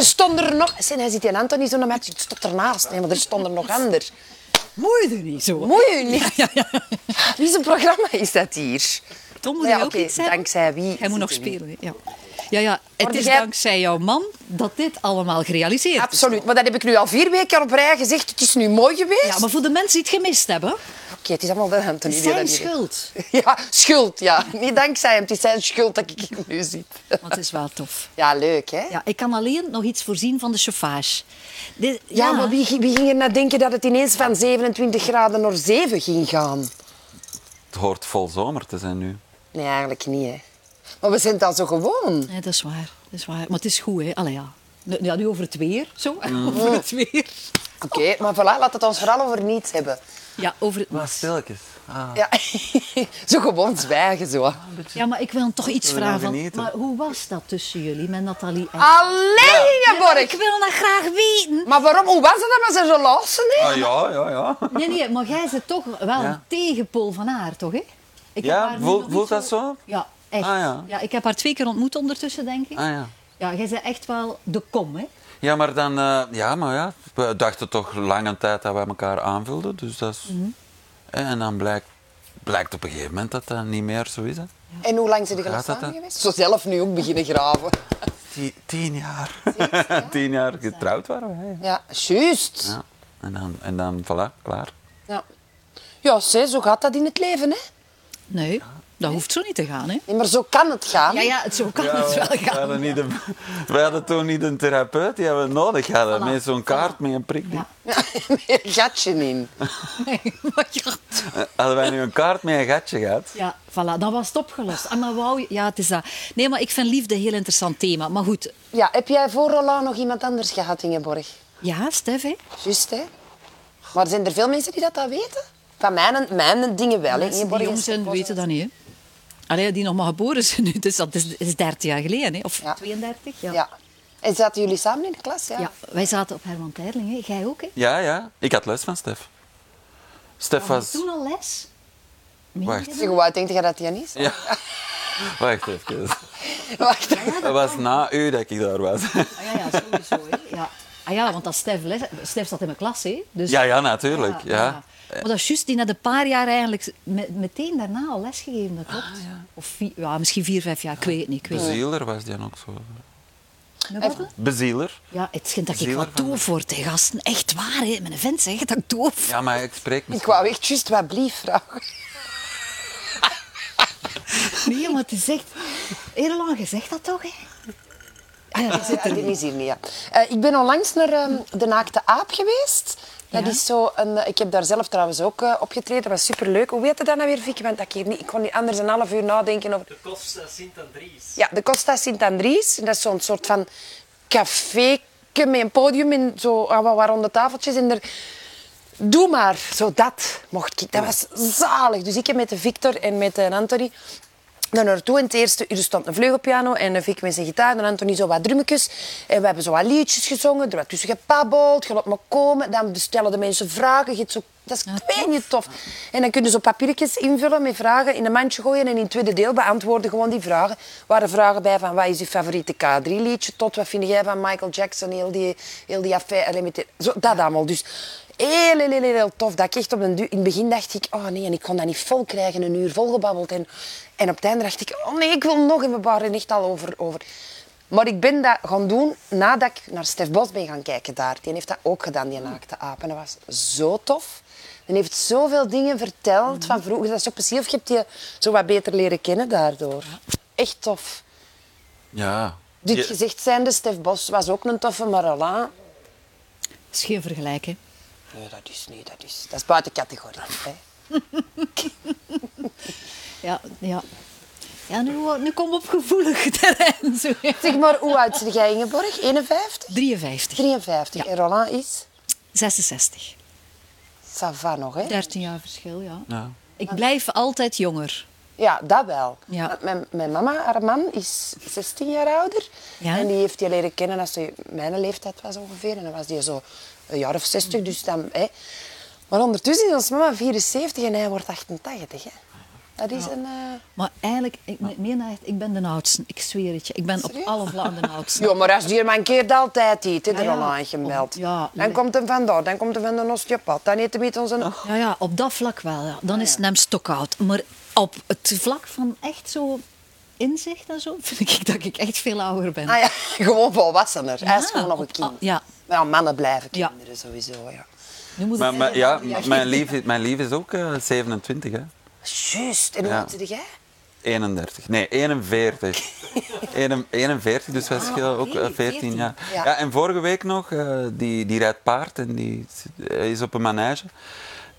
Er stond er nog... Zie, hij zit in Anthony zo naar mij. Ik stond ernaast, hè, maar er stond er nog ander.
Mooi er niet zo.
Moet je niet? Wie zijn programma is dat hier?
Tom moet
Ja,
jij ook
oké,
iets hebben.
dankzij wie
Hij moet nog
zitten we hier?
spelen. hè, Ja. Ja, ja, het
Maar
is
jij-
dankzij jouw man dat dit allemaal gerealiseerd is.
Absoluut. Maar dat heb ik nu al vier weken op rij gezegd. Het is nu mooi geweest.
Ja, maar voor de mensen die het gemist hebben,
Oké, het is allemaal wel Anthony die
zijn
dat hier-
schuld.
<laughs> Ja, schuld, ja. Niet dankzij hem. Het is zijn schuld dat ik hier nu zit.
Want het is wel tof.
Ja, leuk, hè? Ja,
Ja, ik kan alleen nog iets voorzien van de chauffage. Dit- ja,
maar wie, wie ging er nou denken dat het ineens van 27 graden naar 7 ging gaan?
Het hoort vol zomer te zijn nu.
Nee, eigenlijk niet, hè. Maar we zijn het al zo gewoon.
Nee, dat is waar. Dat is waar. Maar het is goed, hè. Allee, ja. Nu- Ja, nu over het weer. Zo, <laughs> over het weer.
Oké, maar voilà, laat het ons vooral over niets hebben.
Ja, over het
Wat stilletjes. Ah.
Ja, <laughs> zo gewoon zwijgen, zo.
Ja, maar ik wil hem toch iets
Zullen we nou
vragen. Van,
genieten?
maar hoe was dat tussen jullie met Nathalie
Ah,
en...
Allee,
Ik
Ingeborg!
wil dat graag weten.
Maar waarom? Hoe was dat met zijn relatie, hè?
Ah, ja, ja, ja.
Nee, nee, maar jij zit toch wel
Ja.
een tegenpool van haar, toch? Hè? Ik heb
Ja,
haar nu
voel-
nog niet
voelt dat zo?
Ja, echt.
Ah,
ja.
ja.
ik heb haar twee keer ontmoet ondertussen, denk ik.
Ah, ja.
Ja, jij bent echt wel de kom, hè?
Ja, maar dan... eh, ja, maar ja. We dachten toch lange tijd dat wij elkaar aanvulden. Dus dat is...
Mhm.
Eh, En dan blijkt, blijkt op een gegeven moment dat dat niet meer zo is. Hè.
En hoe lang zijn de
Gaat
glas
dat
samen
dan?
geweest? Zo zelf nu ook beginnen graven.
Tien, tien jaar. <laughs> tien jaar getrouwd waren wij. hè.
Ja, juist.
Ja. En dan, en dan, voilà,
<laughs>
klaar.
Ja, ja sé, zo gaat dat in het leven, hè?
Nee, dat hoeft zo niet te gaan, hè?
Nee, maar zo kan het gaan. <laughs>
Ja, ja, het, zo kan het
wij,
wel gaan.
hadden niet de- wij hadden toen niet een therapeut die we nodig hadden.
Voilà,
Met zo'n
voilà.
kaart, met een prik.
Ja.
Met een gatje in.
Nee, <laughs> maar ja.
<laughs> Hadden wij nu een kaart met een gatje gehad?
Ja, voilà, dan was het opgelost. En dan wou je... Ja, het is dat. Nee, maar ik vind liefde een heel interessant thema. Maar goed,
Ja, heb jij voor Roland nog iemand anders gehad, Ingeborg?
ja, Stef, hè?
Juist, hè? Maar zijn er veel mensen die dat, dat weten? Van mijn, mijn dingen wel, hè?
Mensen die
Ingeborg
jong
is-
zijn, weten dat niet, hè? Allee, die nog maar geboren zijn nu, dus dat is, is 30 jaar geleden, hè? Of
Ja.
32, ja.
Ja. En zaten jullie samen in de klas? Ja.
Ja, wij zaten op Herman Terling, hè? Jij ook, hè?
Ja, ja. Ik had les van Stef. Stef
Had je
was...
toen al les? Meen je
Wacht.
dat?
Zeg, hoe oud denk je dat die is?
Ja. Wacht even.
Wacht. <laughs>
Dat was na u dat ik daar was.
Ah, ja, ja, sowieso. Hè. Ja. Ah ja, want als Stef, les, Stef zat in mijn klas, hè? Dus,
Ja, ja, natuurlijk. Ja.
Ah, Maar dat is juist, die net een paar jaar eigenlijk me- meteen daarna al lesgegeven, dat klopt. Of vier, Ah, ja, misschien vier, vijf jaar, ik weet het niet. Ik weet het.
Bezieler was die ook zo.
Nog wat?
Bezieler?
Ja, het schijnt dat ik
Zieler
wat
van-
doof word, hè, gasten. Echt waar, hè. Mijn vent zegt dat ik doof
Ja, maar ik spreek
Ik
misschien...
wou echt juist wat blief vragen.
Nee, maar het is echt... Heel lang gezegd dat toch, hè? Ah ja, dat zit
Ja,
er
die
niet.
is hier niet, ja. Eh, ik ben onlangs naar ehm, De Naakte Aap geweest. Dat
Ja.
is zo een, eh, ik heb daar zelf trouwens ook eh, opgetreden. Dat was superleuk. Hoe weet je dat nou weer, Vicky? Want dat ik, hier niet, ik kon niet anders een half uur nadenken over...
De Costa Sint-Andries.
Ja, de Costa Sint-Andries. En Dat is zo'n soort van café met een podium en zo ah, wat ronde tafeltjes. En er... Doe maar, zo dat mocht ik. Dat was zalig. Dus ik heb met de Victor en met de eh, Anthony daar naartoe. In het eerste uur stond een vleugelpiano en een Vic met zijn gitaar. En Anthony zo wat drummetjes. En we hebben zo wat liedjes gezongen, er wat tussen gepabbeld. Je laat me komen. Dan stellen de mensen vragen. Je hebt zo, dat is kwijt niet tof. En dan kunnen ze papiertjes invullen met vragen in een mandje gooien. En in het tweede deel beantwoorden gewoon die vragen. Er waren vragen bij van wat is je favoriete K3-liedje tot wat vind jij van Michael Jackson, heel die, heel die affaire. Allee, met die- zo, dat allemaal. Dus heel, heel, heel, heel tof. Dat ik echt op een du- in het begin dacht ik, oh nee, en ik kon dat niet vol krijgen, een uur volgebabbeld. En, en op het einde dacht ik, oh nee, ik wil nog. En we waren echt al over. over. Maar ik ben dat gaan doen nadat ik naar Stef Bos ben gaan kijken daar. Die heeft dat ook gedaan, die naakte aap. En dat was zo tof. Die heeft zoveel dingen verteld van vroeger. Dat is ook precies of je hebt die zo wat beter leren kennen daardoor. Echt tof.
Ja.
Dit
Je-
gezegd zijnde, Stef Bos was ook een toffe, maar Alain...
Dat is geen vergelijk, hè.
Nee, dat is niet, dat is... Dat is buiten categorie, hè.
Ja, ja. Ja, nu, wo- nu kom op gevoelig <laughs> terrein. Zo, ja.
Zeg maar, hoe oud ben jij, Ingeborg? 51?
53,
53. En Roland is?
66.
Sava nog, hè?
13 jaar verschil, ja.
Ja.
Ik blijf altijd jonger.
Ja, dat wel.
Ja.
Want Mijn, mijn mama, haar man, is 16 jaar ouder.
Ja.
En die heeft die leren kennen als hij mijn leeftijd was ongeveer. En dan was die zo een jaar of 60, dus dan... Hè. Maar ondertussen is onze mama 74 en hij wordt 88, hè. Dat is een... eh,
Maar eigenlijk, ik, me- meer naar echt, ik ben de oudste. Ik zweer het je. Ik ben
Serieus?
op alle
<laughs>
vlakken de oudste.
Ja, maar als die mankeert altijd iets, hè, de
Ah Ja, ja.
Roland gemeld.
Om- ja,
dan
le-
komt hem vandaar, dan komt hem van de osteopaat, dan eet hij met ons een...
Ja, ja, op dat vlak wel. Ja.
Ah,
Dan is het hem stokhout. Maar op het vlak van echt zo inzicht en zo, <laughs> vind ik dat ik echt veel ouder ben.
Ah ja, <laughs> gewoon volwassener. Hij is
Ja,
gewoon nog een
op- ah,
kind.
ja.
Ja, mannen blijven
Ja.
kinderen sowieso, ja.
Nu moet
Maar,
ik-
maar- ja, mijn lief, is- mijn lief is ook eh, 27, hè?
Juist. En hoe
Ja.
oud zit
<laughs>
jij?
31. Nee, 41. Eenem- 41, dus wij schelen ook eh, 14 jaar.
Ah, Ja.
Ja. en vorige week nog, eh, die, die rijdt paard en die zit- eh, is op een manege.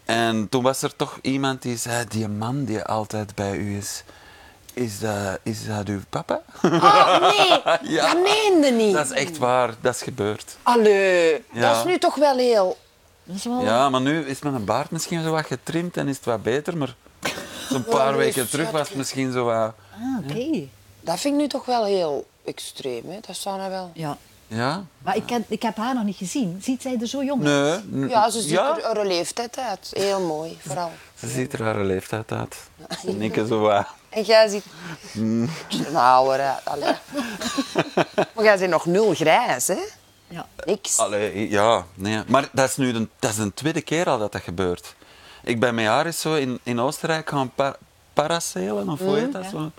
En toen was er toch iemand die zei, die man die altijd bij u is, is dat, is dat uw papa?
Oh, nee.
Ja.
Dat meende niet.
<laughs> Dat is echt waar, dat is gebeurd.
Allee,
Ja.
dat is nu toch wel heel...
Dat is
Oh.
wel...
Ja, maar nu is mijn baard misschien zo wat getrimd en is het wat beter, maar
<laughs>
zo'n paar
Oh, nee,
weken terug was het misschien zo wat...
Ah, oké.
Dat vind ik nu toch wel heel extreem, hè. Dat zou nou wel...
Ja.
Ja?
Maar ik heb, ik heb haar nog niet gezien. Ziet zij er zo jong uit?
Nee. n-
Ja, ze ziet
ja?
er haar leeftijd uit. Heel mooi, vooral.
Ze ziet er haar leeftijd uit. Ze nikken zo eh, wat.
En jij ziet...
Mm.
Nou, hoor, hè.
<laughs>
allee. maar jij bent nog nul grijs, hè.
Ja.
Niks.
Allee, ja, nee. Maar dat is nu de, dat is de tweede keer al dat dat gebeurt. Ik ben met haar eens zo in, in Oostenrijk gaan pa- paracelen, of hoe heet dat zo?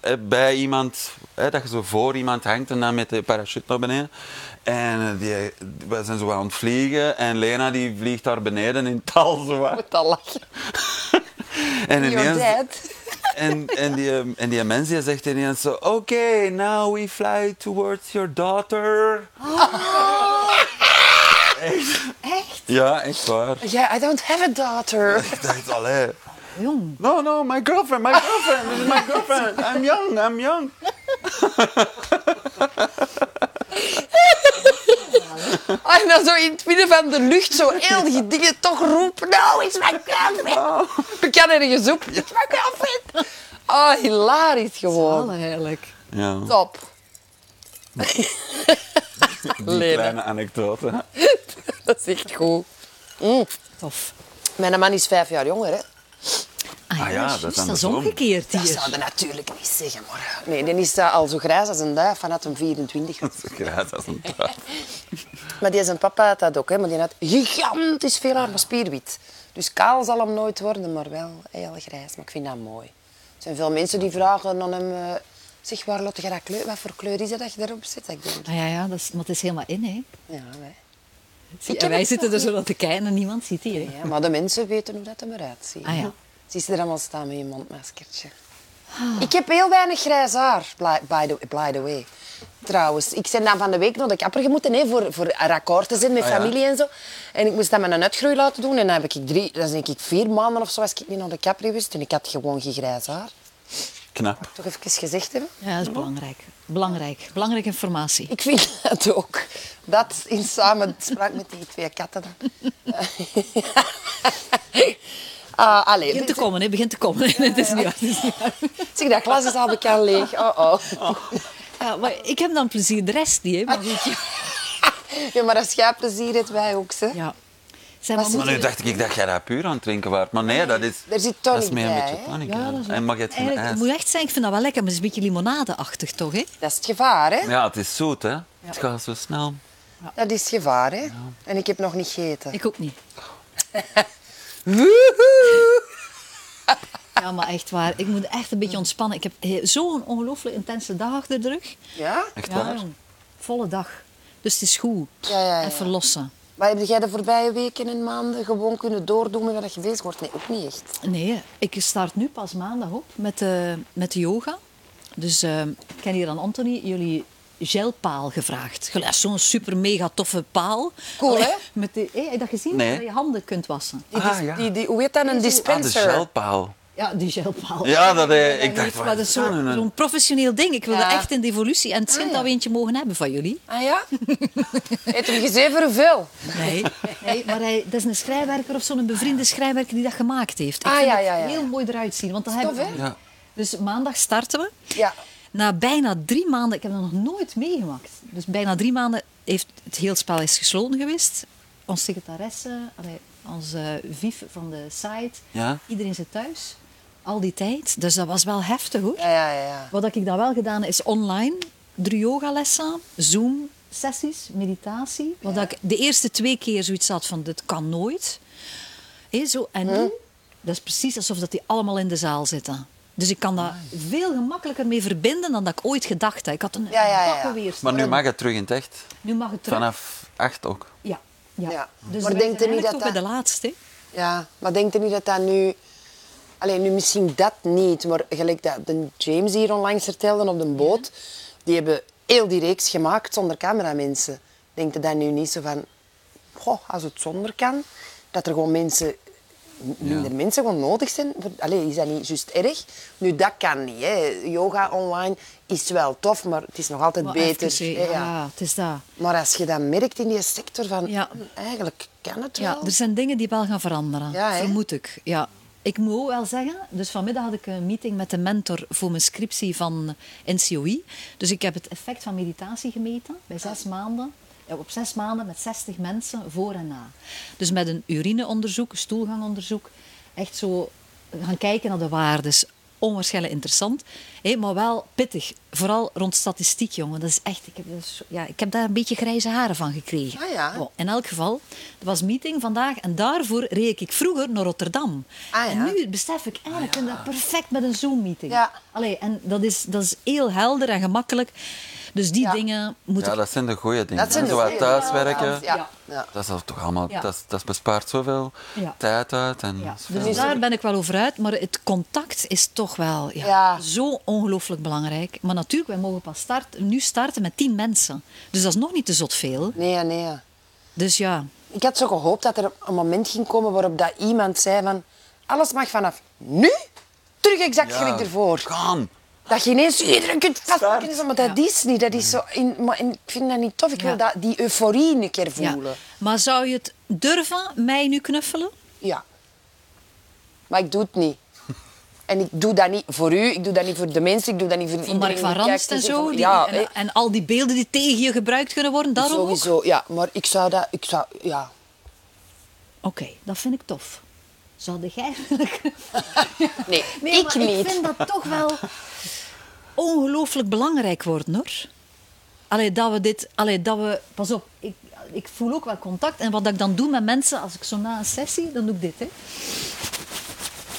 Eh, Bij iemand, hè, dat je zo voor iemand hangt en dan met de parachute naar beneden. En eh, die, we zijn zo aan het vliegen en Lena die vliegt daar beneden in tal zo wat.
Ik moet al lachen. You're
En ineens...
dead.
<laughs>
En, en, die, ehm, en die mens die zegt ineens zo... Oké, now we fly towards your daughter.
Oh. Echt?
Ja, echt waar.
Yeah, I don't have a daughter.
Ik dacht, allee...
Jong.
No, no, my girlfriend, my girlfriend, this is my girlfriend. I'm young, I'm young.
Ah, En dan zo in het midden van de lucht zo heel die dingen toch "Nou, roepen. No, it's my girlfriend. Ik kan ergens op. It's my girlfriend. Oh, hilarisch gewoon.
Alle eigenlijk.
Ja,
Top.
die
Lena.
kleine
Ah,
anekdote. Ah,
Dat is echt goed.
Tof.
Mijn man is vijf jaar jonger, hè.
Ah ja,
Ah ja, dat is
juist, dat is
andersom.
omgekeerd
Dat
hier.
zou je natuurlijk niet zeggen, maar... Nee, dan is dat al zo grijs als een duif vanaf een 24.
<laughs> Ja, dat is een praat.
Maar die zijn papa had dat ook, hè. Maar die had gigantisch veel haar, maar spierwit. Dus kaal zal hem nooit worden, maar wel heel grijs. Maar ik vind dat mooi. Er zijn veel mensen die vragen aan hem... eh, zeg, waar lotte je dat kleur? Wat voor kleur is dat dat je daarop zit? Ik denk,
Ah ja, ja dat is, maar het is helemaal in, hè.
ja, hè. Ik
Zie, en
heb
wij
het
zitten er zo aan te kijken en niemand ziet hier, hè.
Ja, maar de mensen weten hoe dat hem eruit ziet.
Ah, ja.
Ze is er allemaal staan met een mondmaskertje.
Ah.
Ik heb heel weinig grijs haar, bly- by the, by the way. Trouwens, ik ben dan van de week nog de kapper moeten hè, voor, voor akkoord te zijn met
Ah, ja.
familie en zo. En ik moest dat met een uitgroei laten doen. En dan heb ik drie, dat is denk ik vier maanden of zo, als ik niet naar de kapper geweest. En ik had gewoon geen grijs haar.
Knap.
Toch even gezegd hebben.
Ja, dat is belangrijk. Belangrijk. Belangrijke informatie.
Ik vind <laughs> dat ook. Dat in samenspraak met die twee katten. dan. <laughs> Ah, allee,
Begint te
dit-
komen, hè? Begint te komen. <laughs> Het is niet waar, het is niet waar.
Zeg, dat glas is al bekend leeg. Oh, oh.
Ja, Ah, maar ik heb dan plezier, de rest niet, hè? Maar goed, ja.
Ja, maar als jij plezier hebt, wij ook, hè.
ja. Zeg,
Maar
maar,
Maar
moeten
nu
we-
dacht ik dat jij dat puur aan het drinken waart. Maar nee, dat is...
Er zit
dat
tonic
is meer een
bij,
beetje
hè?
paniek.
Ja, dat is
en mag je het
Eigenlijk, ik
ijs?
moet echt zeggen, ik vind dat wel lekker, maar het is een beetje limonadeachtig, toch? Hè?
Dat is het gevaar, hè.
Ja, het is zoet, hè. Het gaat zo snel.
Dat is het gevaar, hè. En ik heb nog niet gegeten.
Ik ook niet.
Woehoe!
Ja, maar echt waar. Ik moet echt een beetje ontspannen. Ik heb he- zo'n ongelooflijk intense dag achter de rug.
Ja?
Echt
Ja,
waar.
jong. Volle dag. Dus het is goed.
Ja, ja, ja.
Even lossen.
Maar heb jij de voorbije weken en maanden gewoon kunnen doordoen met wat je bezig wordt? Nee, ook niet echt.
Nee, ik start nu pas maandag op met de, met de yoga. Dus eh, ik heb hier aan Anthony jullie gelpaal gevraagd. Gelijk, Zo'n super mega toffe paal.
Cool, hè?
Met die, hey, heb je dat gezien?
Nee.
Dat je handen kunt wassen.
Die,
Ah,
dis-
ja.
Dus die, die, hoe heet dat? Een
Aan de
dispenser?
gelpaal.
Ja, die gelpaal.
Ja, dat, eh, ik
niet,
dacht, wat
maar dat
is
is
dat nou?
zo-
nu?
zo'n professioneel ding. Ik wilde
Ja.
echt in de evolutie. En het schijnt
Ah, ja.
dat we eentje mogen hebben van jullie.
ah ja? Heet hem gezien voor hoeveel?
Nee, nee maar hij, dat is een schrijnwerker of zo'n bevriende schrijnwerker die dat gemaakt heeft. Ik
Ah,
vind
ja,
het
ja, ja.
heel mooi eruit zien. Want dat
Stof,
hebben we-
hè?
Ja.
Dus maandag starten we.
Ja.
Na bijna drie maanden, ik heb dat nog nooit meegemaakt. Dus bijna drie maanden heeft het heel spel is gesloten geweest. Onze secretaresse, allee, onze VIF van de site,
Ja.
iedereen zit thuis. Al die tijd. Dus dat was wel heftig hoor.
Ja, ja, ja, ja.
Wat ik dan wel gedaan heb, is online drie yogalessen, Zoom sessies, meditatie. Want dat ik de eerste twee keer zoiets had van dit kan nooit. Hé, zo, en nu, dat is precies alsof dat die allemaal in de zaal zitten. Dus ik kan daar veel gemakkelijker mee verbinden dan dat ik ooit gedacht heb. Ik had een
Ja, ja, ja.
bakken weerstand.
Maar nu mag het terug in het echt.
Nu mag het terug.
Vanaf 8 ook.
Ja. ja.
Ja.
Dus
Maar
maar
denkt u
denk
niet
niet
dat
dat
dat-
bij de laatste.
Ja, maar denk je niet dat dat nu... Alleen nu misschien dat niet, maar gelijk dat de James hier onlangs vertelde op de boot, die hebben heel die reeks gemaakt zonder cameramensen. Denk je dat nu niet zo van... Goh, als het zonder kan, dat er gewoon mensen... m- Minder mensen gewoon nodig zijn. voor- Allee, is dat niet juist erg? Nu, dat kan niet. Hè. Yoga online is wel tof, maar het is nog altijd
Maar
beter.
even,
hè,
ja, Ah, het is dat.
Maar als je dat merkt in die sector, van
Ja.
"Hmm, eigenlijk kan het
Ja,
wel.
er zijn dingen die wel gaan veranderen,
Ja, hè?
vermoed ik. Ja. Ik moet ook wel zeggen, dus vanmiddag had ik een meeting met de mentor voor mijn scriptie van NCOI. Dus ik heb het effect van meditatie gemeten bij zes maanden. ja, Op zes maanden met 60 mensen voor en na. Dus met een urineonderzoek, stoelgangonderzoek. Echt zo eh, gaan kijken naar de waardes. Onwaarschijnlijk interessant, hé, maar wel pittig. Vooral rond statistiek, jongen. Dat is echt, ik, heb, dat is- ja, ik heb daar een beetje grijze haren van gekregen.
Ah, ja.
Wow. In elk geval, er was meeting vandaag en daarvoor reed ik vroeger naar Rotterdam.
Ah, ja.
En nu besef ik, eigenlijk ik vind dat perfect met een Zoom-meeting.
Ja.
Allee, en dat is, dat is heel helder en gemakkelijk. Dus die
Ja.
dingen moeten...
Ja, dat zijn de goede dingen.
Dat zijn dus de
Zo wat
goeie
thuiswerken.
dingen. Ja. Ja.
Dat is al toch allemaal...
Ja.
Dat, is- dat bespaart zoveel
Ja.
tijd uit. En
Ja,
zoveel-
dus daar ben ik wel over uit, maar het contact is toch wel ja,
Ja.
zo ongelooflijk belangrijk. Maar natuurlijk, wij mogen pas starten, nu starten met tien mensen. Dus dat is nog niet te zot veel.
Nee, ja, nee. ja.
Dus ja,
Ik had zo gehoopt dat er een moment ging komen waarop dat iemand zei van... Alles mag vanaf nu terug exact
Ja.
gelijk ervoor.
Gaan!
Dat je ineens iedereen kunt vastpakken. Maar dat is niet. Dat is zo in, maar in- ik vind dat niet tof. Ik
Ja.
wil dat, die euforie een keer
ja.
voelen. Ja.
Maar zou je het durven, mij nu knuffelen?
Maar ik doe het
<laughs>
niet. En ik doe dat niet voor u, ik doe dat niet voor de mensen, ik doe dat niet voor
Van Mark
iedereen
van eh,
die
Ranst en
kijkt
zo.
van-
Die,
ja, eh, hè.
en, en al die beelden die tegen je gebruikt kunnen worden, daarom ook? Oké,
sowieso. Ja, maar ik zou dat... Ik zou, ja.
dat vind ik tof. Zou jij willen
Nee,
Nee,
ik
maar
niet.
ik vind dat toch wel <laughs> ongelooflijk belangrijk worden, hoor. Allee, dat we dit... Allee, dat we... Pas op, ik, ik voel ook wel contact. En wat ik dan doe met mensen, als ik zo na een sessie, dan doe ik dit, hè.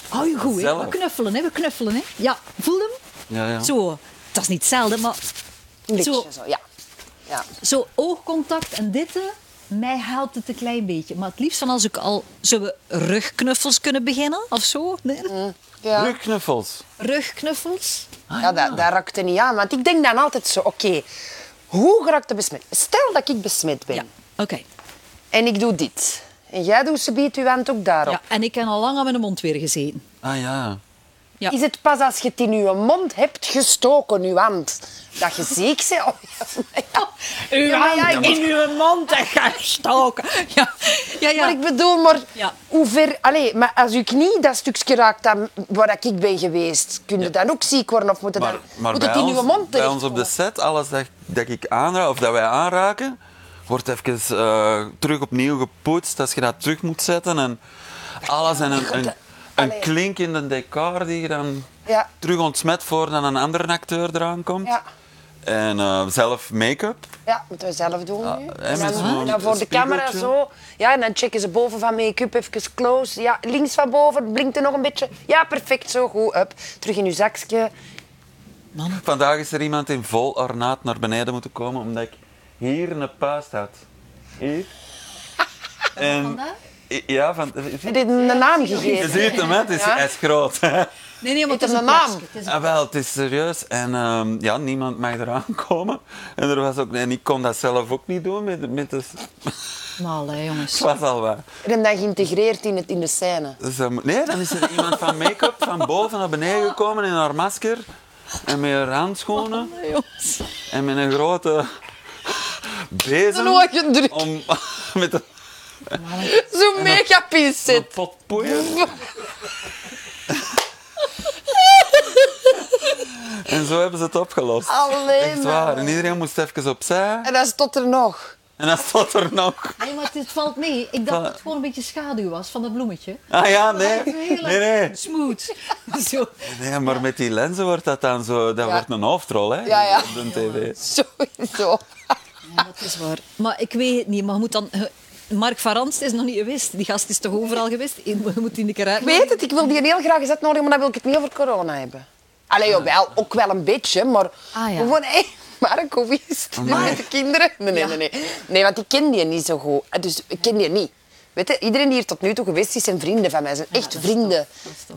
Hou je goed, hè.
Zelf.
We knuffelen, hè. We knuffelen, hè. Ja, voel hem?
Ja, ja.
Zo. Dat is niet zelden, maar
Een beetje
Zo.
zo, ja. ja.
Zo oogcontact en dit, eh, mij helpt het een klein beetje. Maar het liefst van als ik al... Zullen we rugknuffels kunnen beginnen of zo? Nee?
Mm. ja.
Rugknuffels.
Rugknuffels?
ja,
Ah,
dat, dat raakte niet aan. Want ik denk dan altijd zo, oké, hoe raakt de besmet? Stel dat ik besmet ben
Ja, oké.
en ik doe dit. En jij doet ze biedt uw hand ook daarop.
Ja, en ik heb al lang aan mijn mond weer gezeten.
Ah ja.
Ja.
Is het pas als je het in je mond hebt gestoken, je hand, dat je ziek bent? <laughs> Oh, ja.
Uw
Ja, maar ja,
hand
ik-
in uw mond en ga stoken. Ja, ja, Eh, ja.
Maar ik bedoel, maar
Ja.
hoe ver... Allee, maar als je knie dat stukje raakt dan waar ik ben geweest, kun je dan ook ziek worden? Of moet, het
Maar,
dan,
maar
moet
bij,
het in
ons,
je mond
bij ons op de
terechtkomen?
set, alles dat, dat ik aanraak, of dat wij aanraken, wordt even eh, terug opnieuw gepoetst als je dat terug moet zetten. En alles en een, een, een
Allee.
klink in de decor die je dan
Ja.
terug ontsmet voordat een andere acteur eraan komt.
Ja.
En eh, zelf make-up.
Ja, moeten we zelf doen nu.
hè,
en
met
dan,
zo'n
dan voor de camera
spiegeltje.
zo. Ja, en dan checken ze boven van make-up even close. Ja, links van boven, blinkt er nog een beetje. Ja, perfect, zo goed. Up. Terug in uw zakje.
Vandaag is er iemand in vol ornaat naar beneden moeten komen, omdat ik hier een puist had. Hier. En, ja, van...
Heb je een naam
Je
gegeven?
ziet hem, hè? Het is,
Ja.
hij is groot.
Nee, nee, want
Het is
het is
een
een
naam.
plakske. Het is een-
Ah, wel, het is serieus. En ehm, ja, niemand mag eraan <laughs> komen. En, er was ook, en ik kon dat zelf ook niet doen. Met, met de,
Mal, hè, jongens.
het was al wat.
En hem dan geïntegreerd in, het, in de scène.
Dus, dan moet- nee, dan is er iemand van make-up van boven naar beneden gekomen in haar masker. En met haar handschoenen.
Nee, jongens.
En met een grote bezem.
Een oogendruk.
Om <laughs> met een
Zo'n mega pincet.
pot poeien. En zo hebben ze het opgelost.
Allee,
Echt waar. En iedereen moest even opzij.
En dan stond er nog. <laughs>
En dat stond er nog.
Nee, maar het valt mee. Ik dacht
Voilà.
dat het gewoon een beetje schaduw was van dat bloemetje.
Ah ja, nee.
Het is
Nee,
heel
nee.
Smooth. <laughs> Zo.
Nee, maar met die lenzen wordt dat dan zo... Dat
Ja.
wordt een hoofdrol, hè?
Ja, ja.
Op de tv.
Sowieso.
Ja, dat is waar. Maar ik weet het niet. Maar je moet dan... Mark van Ranst is nog niet geweest. Die gast is toch overal geweest? Je moet die een keer
Ik
uit.
weet het, ik wil die heel graag eens uitnodigen, maar dan wil ik het niet over corona hebben. Allee, jawel, ook wel een beetje, maar
Ah, ja. Ah,
gewoon, hé, Mark, hoe is het nu
Amai.
met de kinderen? Nee, nee, nee, nee. Nee, want ik ken die niet zo goed. Eh, Dus ik ken die niet. Weet je, iedereen die hier tot nu toe geweest is, zijn vrienden van mij. Zijn echt vrienden.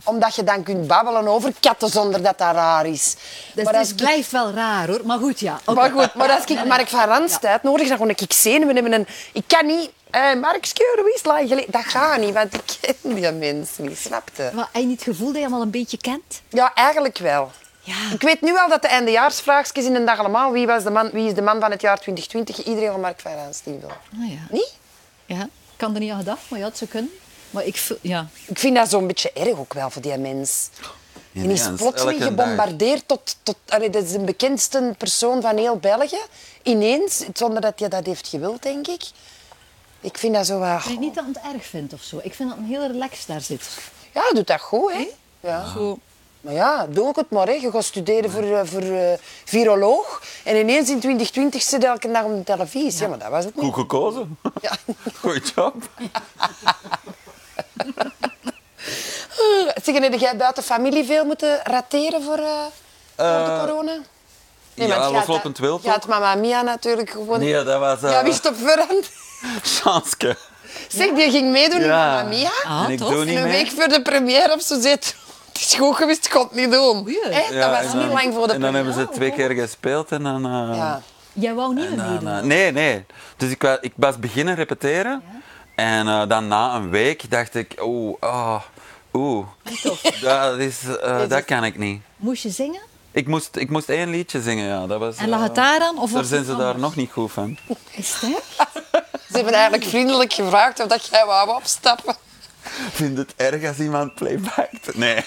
Omdat je dan kunt babbelen over katten zonder dat dat raar is. maar
Dus het
als
is-
ik-
blijft wel raar, hoor. Maar goed, ja. Oké.
maar goed, maar als ik Mark van Rans tijd nodig dan gewoon ik zenuwen hebben. En ik kan niet... Eh, Mark Skeur, wie is lang geleden? Dat gaat niet, want ik ken die mensen niet, snap je?
Maar heb je niet het gevoel dat je hem al een beetje kent?
Ja, eigenlijk wel.
Ja.
Ik weet nu al dat de eindejaarsvraagjes in een dag allemaal... Wie, was de man, wie is de man van het jaar 2020? Iedereen van Mark van Rans die wil.
Ah, ja.
Niet?
ja. Ik kan er niet aan gedacht, maar ja, het zou kunnen. Maar ik... voel- Ja.
Ik vind dat zo'n beetje erg ook wel voor die mens.
Ja,
Die is
ja, dat is
plotseling
elke dag.
gebombardeerd tot... tot allee, dat is de bekendste persoon van heel België. Ineens, zonder dat hij dat heeft gewild, denk ik. Ik vind dat zo... wel-
Ik denk niet dat ik het erg vind of zo. Ik vind dat hem heel relaxed daar zit.
Ja, hij doet dat goed, hè? Ja.
Zo.
Maar ja, doe ook het maar. Hè. Je gaat studeren voor, eh, voor eh, viroloog. En ineens in 2020 zit je elke dag op de televisie. Ja, maar dat was het niet.
Goed gekozen. <laughs>
Ja. <laughs>
Goeie job.
Zeg, heb jij buiten familie veel moeten rateren voor, eh, voor de corona?
ja,
want je had
loslopend
dat-
wild
Je had mama Mia natuurlijk gewoon...
Nee, dat was... eh,
ja, wist op verhand.
Chanske.
Zeg, die ging meedoen
Ja.
in Mamma Mia.
Ah,
en ik
tof.
doe
En
niet
een
mee.
week voor de première of zo zit. <laughs> Het is goed geweest, ik kon het niet doen.
Goeie.
Hè, dat
Ja,
was
en
niet
dan-
lang voor de Oh,
En dan hebben ze
première.
twee keer gespeeld en dan... eh,
Ja.
Jij wou niet meer
en dan,
meedoen.
eh, nee, nee. Dus ik, wa- ik was beginnen repeteren. En eh, dan na een week dacht ik... Oeh, ah, oeh. Dat, is, eh, dat kan ik niet.
Moest je zingen? En
Ik moest, ik moest één liedje zingen, ja. Dat was,
En lag
eh,
het daar aan, of
Daar
was
zijn
het
ze daar
anders?
nog niet goed van.
Is het erg?
Ze hebben eigenlijk vriendelijk gevraagd of dat jij wou opstappen.
vind het erg als iemand playbackt. Nee.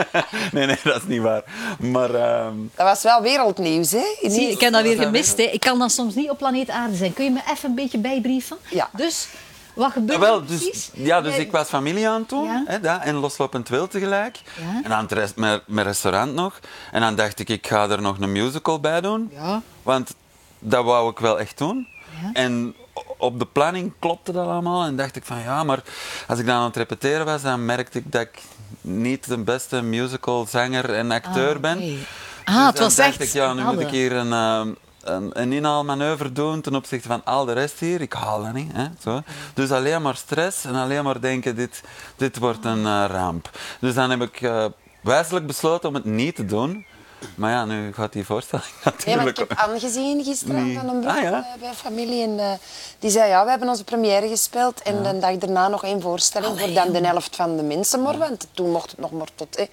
<laughs> nee, nee, dat is niet waar. Maar ehm,
Dat was wel wereldnieuws, hè? Ineens.
Zie, ik heb dat weer
dat
gemist. Hè. Ik kan dan soms niet op planeet Aarde zijn. Kun je me even een beetje bijbrieven?
Ja.
Dus, wat gebeurt er
jawel,
precies?
dus, ja, dus ik was familie aan toen.
Ja.
Hè, dat, en loslopend wil tegelijk.
Ja.
En aan het rest, mijn, mijn restaurant nog. En dan dacht ik, ik ga er nog een musical bij doen.
Ja.
Want dat wou ik wel echt doen.
Ja.
En o- op de planning klopte dat allemaal. En dacht ik van ja, maar als ik dan aan het repeteren was, dan merkte ik dat ik niet de beste musicalzanger en acteur
Ah,
ben.
oké.
Dus
Ah, het
dan
was
dacht
echt
Ik, ja, nu moet
hadden.
ik hier een, ehm, een, een inhaalmanoeuvre doen ten opzichte van al de rest hier. Ik haal dat niet. Hè? Zo. Dus alleen maar stress en alleen maar denken, dit, dit wordt een eh, ramp. Dus dan heb ik eh, wijselijk besloten om het niet te doen. Maar ja, nu gaat die voorstelling <laughs>
Nee, want ik
natuurlijk...
heb aangezien gisteren
Nee.
van een broer
Ah, ja.
eh, bij familie. En, eh, die zei, ja, we hebben onze première gespeeld. En de dag daarna nog één voorstelling voor dan de helft van de mensen. Maar, want toen mocht het nog maar tot... eh,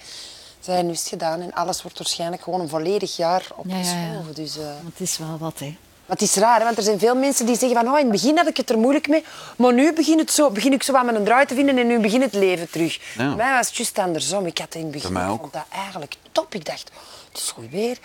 Zij nu is het gedaan en alles wordt waarschijnlijk gewoon een volledig jaar opgeschoven. Dus, eh,
Want het is wel wat, hè.
maar het is raar, hè, want er zijn veel mensen die zeggen van oh, in het begin had ik het er moeilijk mee, maar nu begin, het zo, begin ik zo aan mijn draai te vinden en nu begint het leven terug.
Ja.
Bij mij was het juist andersom. Ik had in het begin
Bij mij
ik
ook.
vond dat eigenlijk top. Ik dacht, het is goed weer,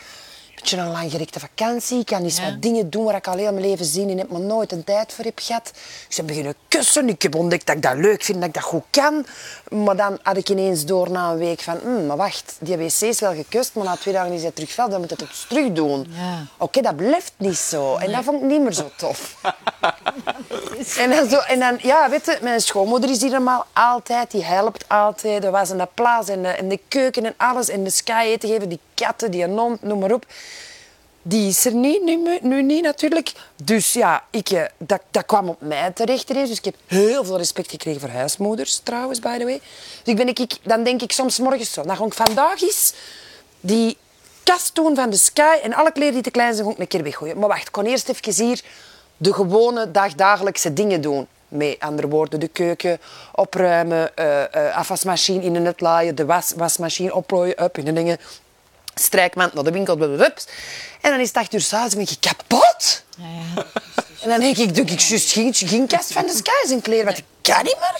een beetje een langgerekte vakantie, ik kan eens wat dingen doen waar ik al heel mijn leven zin in heb, maar nooit een tijd voor heb gehad. Ik ben beginnen kussen, ik heb ontdekt dat ik dat leuk vind, dat ik dat goed kan. Maar dan had ik ineens door na een week van, "Hmm, maar wacht, die wc is wel gekust, maar na twee dagen is dat terug vuil, dan moet ik het dus terug doen.
Ja.
Oké, dat blijft niet zo. En dat vond ik niet meer zo tof. <laughs> en, dan zo, en dan, ja, weet je, mijn schoonmoeder is hier normaal altijd. Die helpt altijd. Er was in de plaats en de, en de keuken en alles. En de sky eten geven, die katten, die non, noem maar op. Die is er niet, nu, mu- nu niet natuurlijk. Dus ja, ik, eh, dat, dat kwam op mij terecht ineens. Dus ik heb heel veel respect gekregen voor huismoeders trouwens, by the way. Dus ik ben, ik, ik- dan denk ik soms 's morgens zo. Dan ga ik vandaag eens die kast doen van de Sky en alle kleren die te klein zijn, ga ik een keer weggooien. Maar wacht, ik kon eerst even hier de gewone dagdagelijkse dingen doen. Met andere woorden, de keuken opruimen, eh eh, afwasmachine in de net laaien, de was, wasmachine oplooien, up in de dingen, strijkmand naar de winkel, blablabla. En dan is het acht uur s'avonds en ben ik kapot.
Ja, ja.
En dan denk ik, doe ik juist geen, geen kast van de Sky zijn kleren, want ik kan niet meer.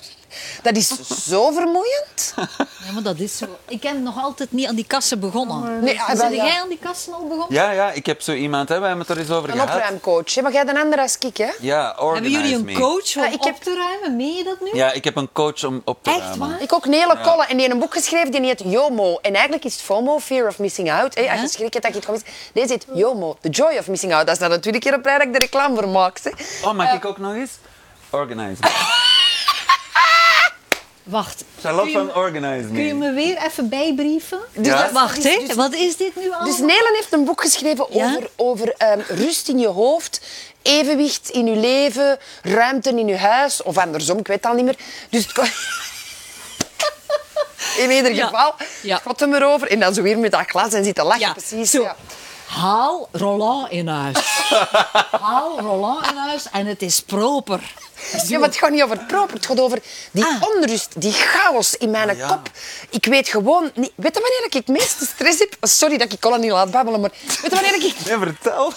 Dat is zo vermoeiend.
ja, maar dat is zo. Ik ben nog altijd niet aan die kassen begonnen.
Nee, ah,
Zijn
wel, ja.
jij aan die kassen al begonnen?
Ja, ja, ik heb zo iemand, hè, we hebben het er eens over
Een
gehad.
opruimcoach, hè. maar jij hebt een andere als ik, hè?
Ja,
Hebben
organize
jullie een
me.
coach om
Ja, Ah, ik heb-
op te ruimen? Meen je dat nu?
Ja, ik heb een coach om op te
Echt
ruimen.
waar?
Ik ook een hele kolle. En die heeft een boek geschreven die heet JOMO. En eigenlijk is het FOMO, Fear of Missing Out. hè. Als je schrik hebt dat je het gaat missen. Deze heet JOMO, The Joy of Missing Out. Dat is nou natuurlijk keer op rij dat ik de reclame voor maak. hè. Dus
Oh,
Eh.
mag ik ook nog eens? Organize me.
Wacht.
Charlotte
kun je
van Organize
Kun je
Me.
me weer even bijbrieven?
Ja.
dat-
Wacht,
dus-
hè.
dus-
Wat is dit nu al?
Dus Nelen heeft een boek geschreven
Ja?
over, over ehm, rust in je hoofd, evenwicht in je leven, ruimte in je huis. Of andersom, ik weet het al niet meer. Dus het kon- <laughs> In ieder
Ja.
geval,
Ja.
het gaat hem erover. En dan zo weer met dat glas en zit te lachen.
Ja,
precies.
zo.
ja.
Haal Roland
<laughs>
in huis. Haal Roland in huis en het is proper.
Ja, maar het gaat niet over het proper. Het gaat over die
Ah.
onrust, die chaos in mijn
ja.
kop. Ik weet gewoon niet... Weet je wanneer ik het meeste stress heb? Sorry dat ik Colin niet laat babbelen, maar... Weet je wanneer ik
Nee, vertel.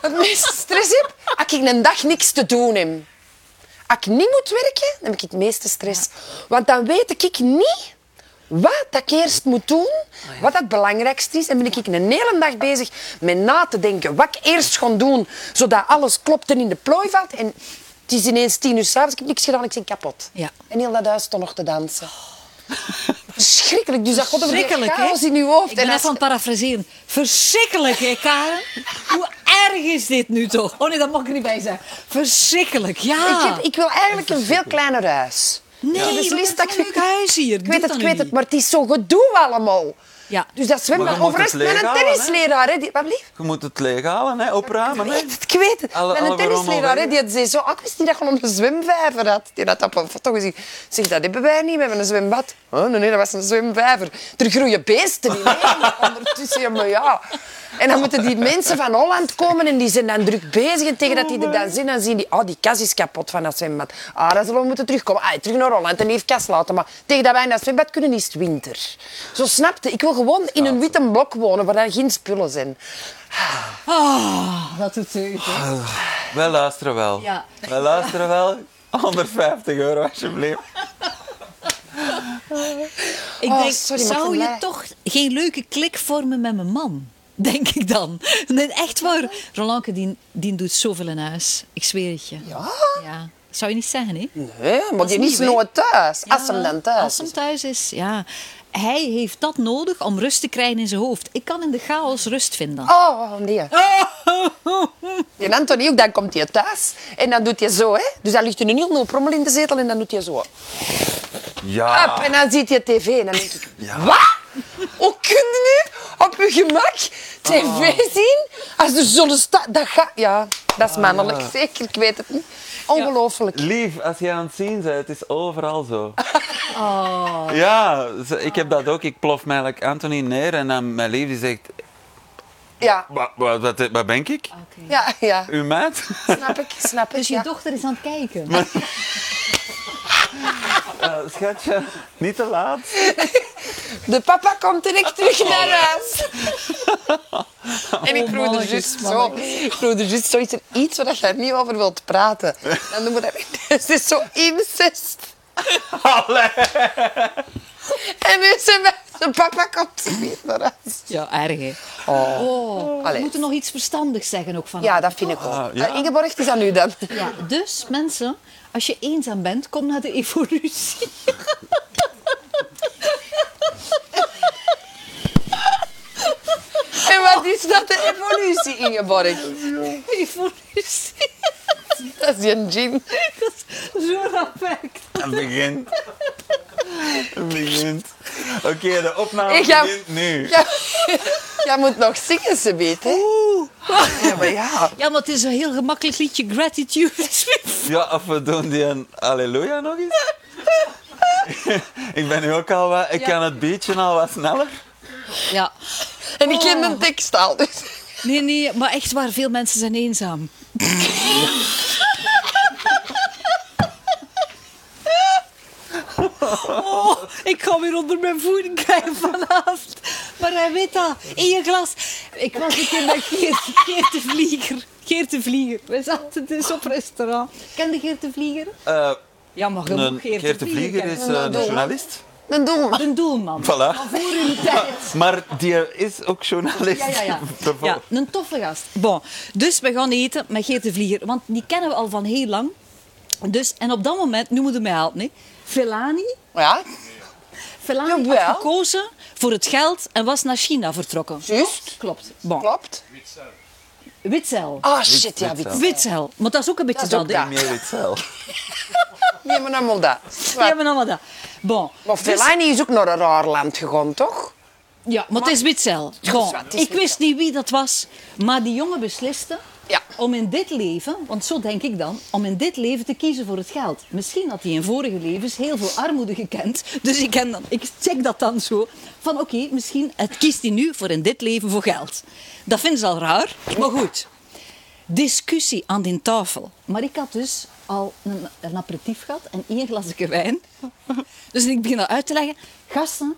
het meeste <laughs> stress heb? Als ik een dag niks te doen heb. Als ik niet moet werken, dan heb ik het meeste stress. Want dan weet ik niet wat dat ik eerst moet doen,
Oh
wat het belangrijkste is. En ben ik een hele dag bezig met na te denken wat ik eerst ga doen, zodat alles klopt en in de plooi valt. En het is ineens tien uur s'avonds, ik heb niks gedaan, ik ben kapot.
Ja. Oh.
En heel dat huis stond nog te dansen. Verschrikkelijk. Dus dat gaat over die
Verschrikkelijk, hè?
chaos in je hoofd.
Ik ben
en als
even aan het parafraseren. Verschrikkelijk, hè, Karen? Hoe erg is dit nu toch? Oh nee, dat mag ik er niet bij zeggen. Verschrikkelijk, ja.
Ik, heb, ik wil eigenlijk een veel kleiner huis.
Ah. Nee,
Ik heb
wat
beslist
is dat
ik-
voor leuk huis hier?
Ik
Doe
weet
dat
het, ik
nu
weet het,
niet.
maar het is zo gedoe allemaal.
Ja.
Dus dat
Maar
zwemmen.
dan moet
Overigens,
het
met een
leeghalen, hè?
tennisleraar, hè, die, wat blieft?
Je moet het leeghalen, hè, opruimen.
Ik
Hè.
weet het, ik weet het.
Alle-
Met een
alle
tennisleraar,
rommel
hè,
weg.
die had zei zo, ah, ik wist niet dat je nog een zwemvijver had. Die had dat op een foto gezien. Zeg, dat hebben wij niet, we hebben een zwembad. Oh, nee, nee, dat was een zwemvijver. Er groeien beesten in, hè, <laughs> ondertussen. Ja, maar ja. En dan moeten die mensen van Holland komen en die zijn dan druk bezig. En tegen dat die er dan zijn, dan zien die, oh, die kas is kapot van dat zwembad. Ah, dat zullen we moeten terugkomen. Ah, terug naar Holland en even kas laten. Maar tegen dat wij in dat zwembad kunnen, is het winter. Zo snapte, ik wil gewoon in een witte blok wonen waar er geen spullen zijn.
Ah, dat doet zeug, hè.
Wij luisteren wel.
Ja.
Wij luisteren wel. 150 euro, alsjeblieft.
Ik
Oh,
denk,
sorry, maar voor
zou je
mij-
toch geen leuke klik vormen met mijn man? <laughs> Denk ik dan. Nee, echt waar. Rolanke, die, die doet zoveel in huis. Ik zweer het je.
Ja?
Ja. Zou je niet zeggen, hè?
Hè, maar
Als
die
hij
is
niet weet-
nooit thuis. als
Ja,
hem dan thuis
Als hem
is.
thuis is, ja. Hij heeft dat nodig om rust te krijgen in zijn hoofd. Ik kan in de chaos rust vinden.
Oh, nee.
<laughs>
Die Anthony ook, dan komt hij thuis. En dan doet hij zo, hè. Dus dan ligt er een heel prommel in de zetel en dan doet hij zo.
Ah.
Ja.
Up, en dan ziet hij tv en dan denk ik...
Ja.
Wat? Hoe kun je nu op je gemak tv
Ah.
zien? Als er zo'n sta... Dat gaat... Ja, dat is mannelijk. Zeker, ik weet het niet. Ongelooflijk.
Lief, als jij aan het zien bent, het is overal
<laughs>
zo.
Oh.
Ja, ze- ik heb dat ook. Ik plof mij like Anthony neer en dan mijn lief die zegt...
Ja.
Wat, wat, eh, wat, wat ben ik?
Oké.
Ja, ja.
Uw meid?
<laughs>
<laughs>
Snap ik, snap ik.
Dus je
ja.
dochter is aan het kijken.
Eh, schatje, niet te laat.
De papa komt direct <laughs> terug naar huis. en ik vroeg
Oh,
er
mannetjes,
juist zo.
mannetjes.
Ik vroeg er juist zo, is er iets waar je niet over wilt praten? Dan doen we dat <laughs> Het is zo incest. En nu zijn we... De papa komt terug naar huis.
Ja, erg hè.
Oh.
Oh, we
Allee.
moeten nog iets verstandigs zeggen ook van
Ja, dat vind ik ook.
Ah, ja.
Eh, Ingeborg, het is aan u dan.
Ja, dus mensen, als je eenzaam bent, kom naar de evolutie. <laughs>
En wat is dat, de evolutie, Ingeborg?
Evolutie,
Dat is een gin.
dat is zo rap werkt.
Het begint.
<laughs>
Het begint. Oké, de opname
Ik ga-
begint nu.
Ja, <laughs> jij moet nog zingen, ze weet, hè? Ja, maar ja.
Ja, maar het is een heel gemakkelijk liedje, gratitude.
Ja, of we doen die een Alleluia nog eens. <laughs> ik ben nu ook al wat... Ik
Ja.
kan het beetje al wat sneller.
Ja,
En ik ken de tekst al, dus...
nee, nee, maar echt waar, veel mensen zijn eenzaam. Oh, ik ga weer onder mijn voeten krijgen vanavond. Maar hij weet dat. In je glas. Ik was een keer bij Geert, Geert de Vlieger. Geert de Vlieger. We zaten dus op restaurant. Ken je Geert de Vlieger?
Eh
Ja, maar je
een
moet Geert,
Geert de Vlieger
kennen.
is eh, een journalist.
Dan doen we
Een doelman.
Voilà.
Van voor hun
<laughs>
tijd.
Maar die is ook journalist.
Ja, ja,
<laughs>
<laughs>
ja.
Daarvoor.
ja, een toffe gast. Bon, dus we gaan eten met Geert de Vlieger, want die kennen we al van heel lang. Dus, en op dat moment noemen we mij helpen. hè. Velani,
maar. Ja,
Velani
Jawel.
had gekozen voor het geld en was naar China vertrokken.
juist.
Klopt. Bon.
Klopt.
Witzel.
Ah, shit, ja,
wit
wie...
zelf.
Witzel. Maar dat is ook een beetje
Dat is ook
dat. hè.
dat.
Meer weet zelf.
Nee, maar allemaal dat.
Die hebben allemaal dat. Bon. Dus-
Maar Fellaini is ook naar een raar land gegaan, toch?
Ja, maar het is Witzel. Bon,
wat, het is
ik wist niet wie dat was, maar die jongen besliste
Ja.
om in dit leven, want zo denk ik dan, om in dit leven te kiezen voor het geld. Misschien had hij in vorige levens heel veel armoede gekend, dus ik, ken dan, ik check dat dan zo. Van oké, misschien het kiest hij nu voor in dit leven voor geld. Dat vinden ze al raar, maar goed. Discussie aan die tafel. Maar ik had dus al een, een aperitief gehad en één glasje wijn. <laughs> Dus ik begin dat uit te leggen. Gasten,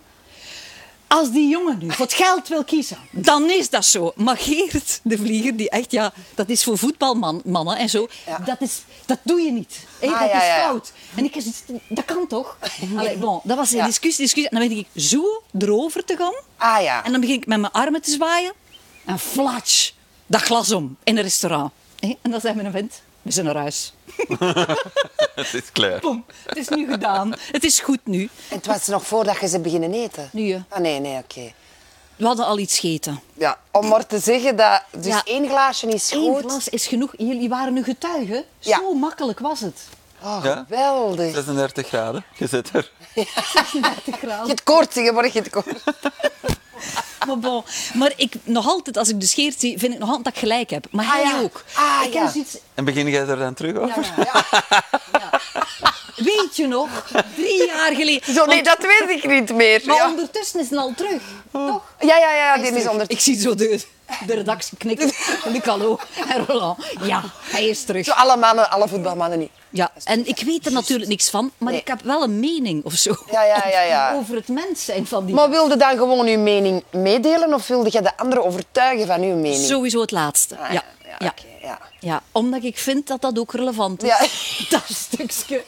als die jongen nu voor het geld wil kiezen, dan is dat zo. Maar Geert de Vlieger, die echt, ja, dat is voor voetbalmannen en zo,
Ja.
dat, is, dat doe je niet. Hé,
Ah,
dat
ja,
is
ja, ja.
fout. En ik zei, dat kan
<laughs>
toch? Allee, bon, dat was een
Ja.
discussie, discussie. En dan ben ik zo erover te gaan.
Ah, ja.
En dan begin ik met mijn armen te zwaaien. En flatsch, dat glas om in een restaurant. Hé, En dan zei mijn vent, we zijn naar huis.
<laughs> Het is klaar.
Boom, het is nu gedaan. Het is goed nu.
En het was nog voordat je ze beginnen eten?
Nu, ja.
Ah, nee, nee, oké.
We hadden al iets gegeten.
Ja, om maar te zeggen dat... Dus
Ja.
één glaasje is
Eén
goed.
glas is genoeg. Jullie waren nu getuigen.
Ja.
Zo makkelijk was het.
Oh,
Ja.
geweldig.
36 graden. Je zit er.
<laughs> Je hebt koorts, Ingeborg, je hebt koorts.
Maar, Ah, bon. maar ik, nog altijd, als ik de scheert zie, vind ik nog altijd dat ik gelijk heb. Maar
Ah,
hij
ja.
ook.
Ah,
ik heb
ja.
zoiets...
En begin jij er dan terug over?
Ja.
Weet je nog? Drie jaar geleden.
Zo, nee,
Want-
dat weet ik niet meer.
Maar
Ja,
ondertussen is het al terug. Toch?
ja, ja, ja die is
terug.
onder...
Ik zie zo de, de redactie knikken. <laughs> Luc, hallo. En Roland. Ja, hij is terug.
Zo alle mannen, alle voetbalmannen niet.
Ja, en ik weet er natuurlijk niks van, maar
Nee.
ik heb wel een mening of zo.
Ja, ja, ja, ja.
<laughs> Over het mens zijn van die.
Maar wilde dan gewoon uw mening meedelen of wilde je de anderen overtuigen van uw mening?
Sowieso het laatste.
Ah,
ja.
ja,
ja.
oké, ja.
Ja, omdat ik vind dat dat ook relevant is.
Ja.
<laughs> Dat stukje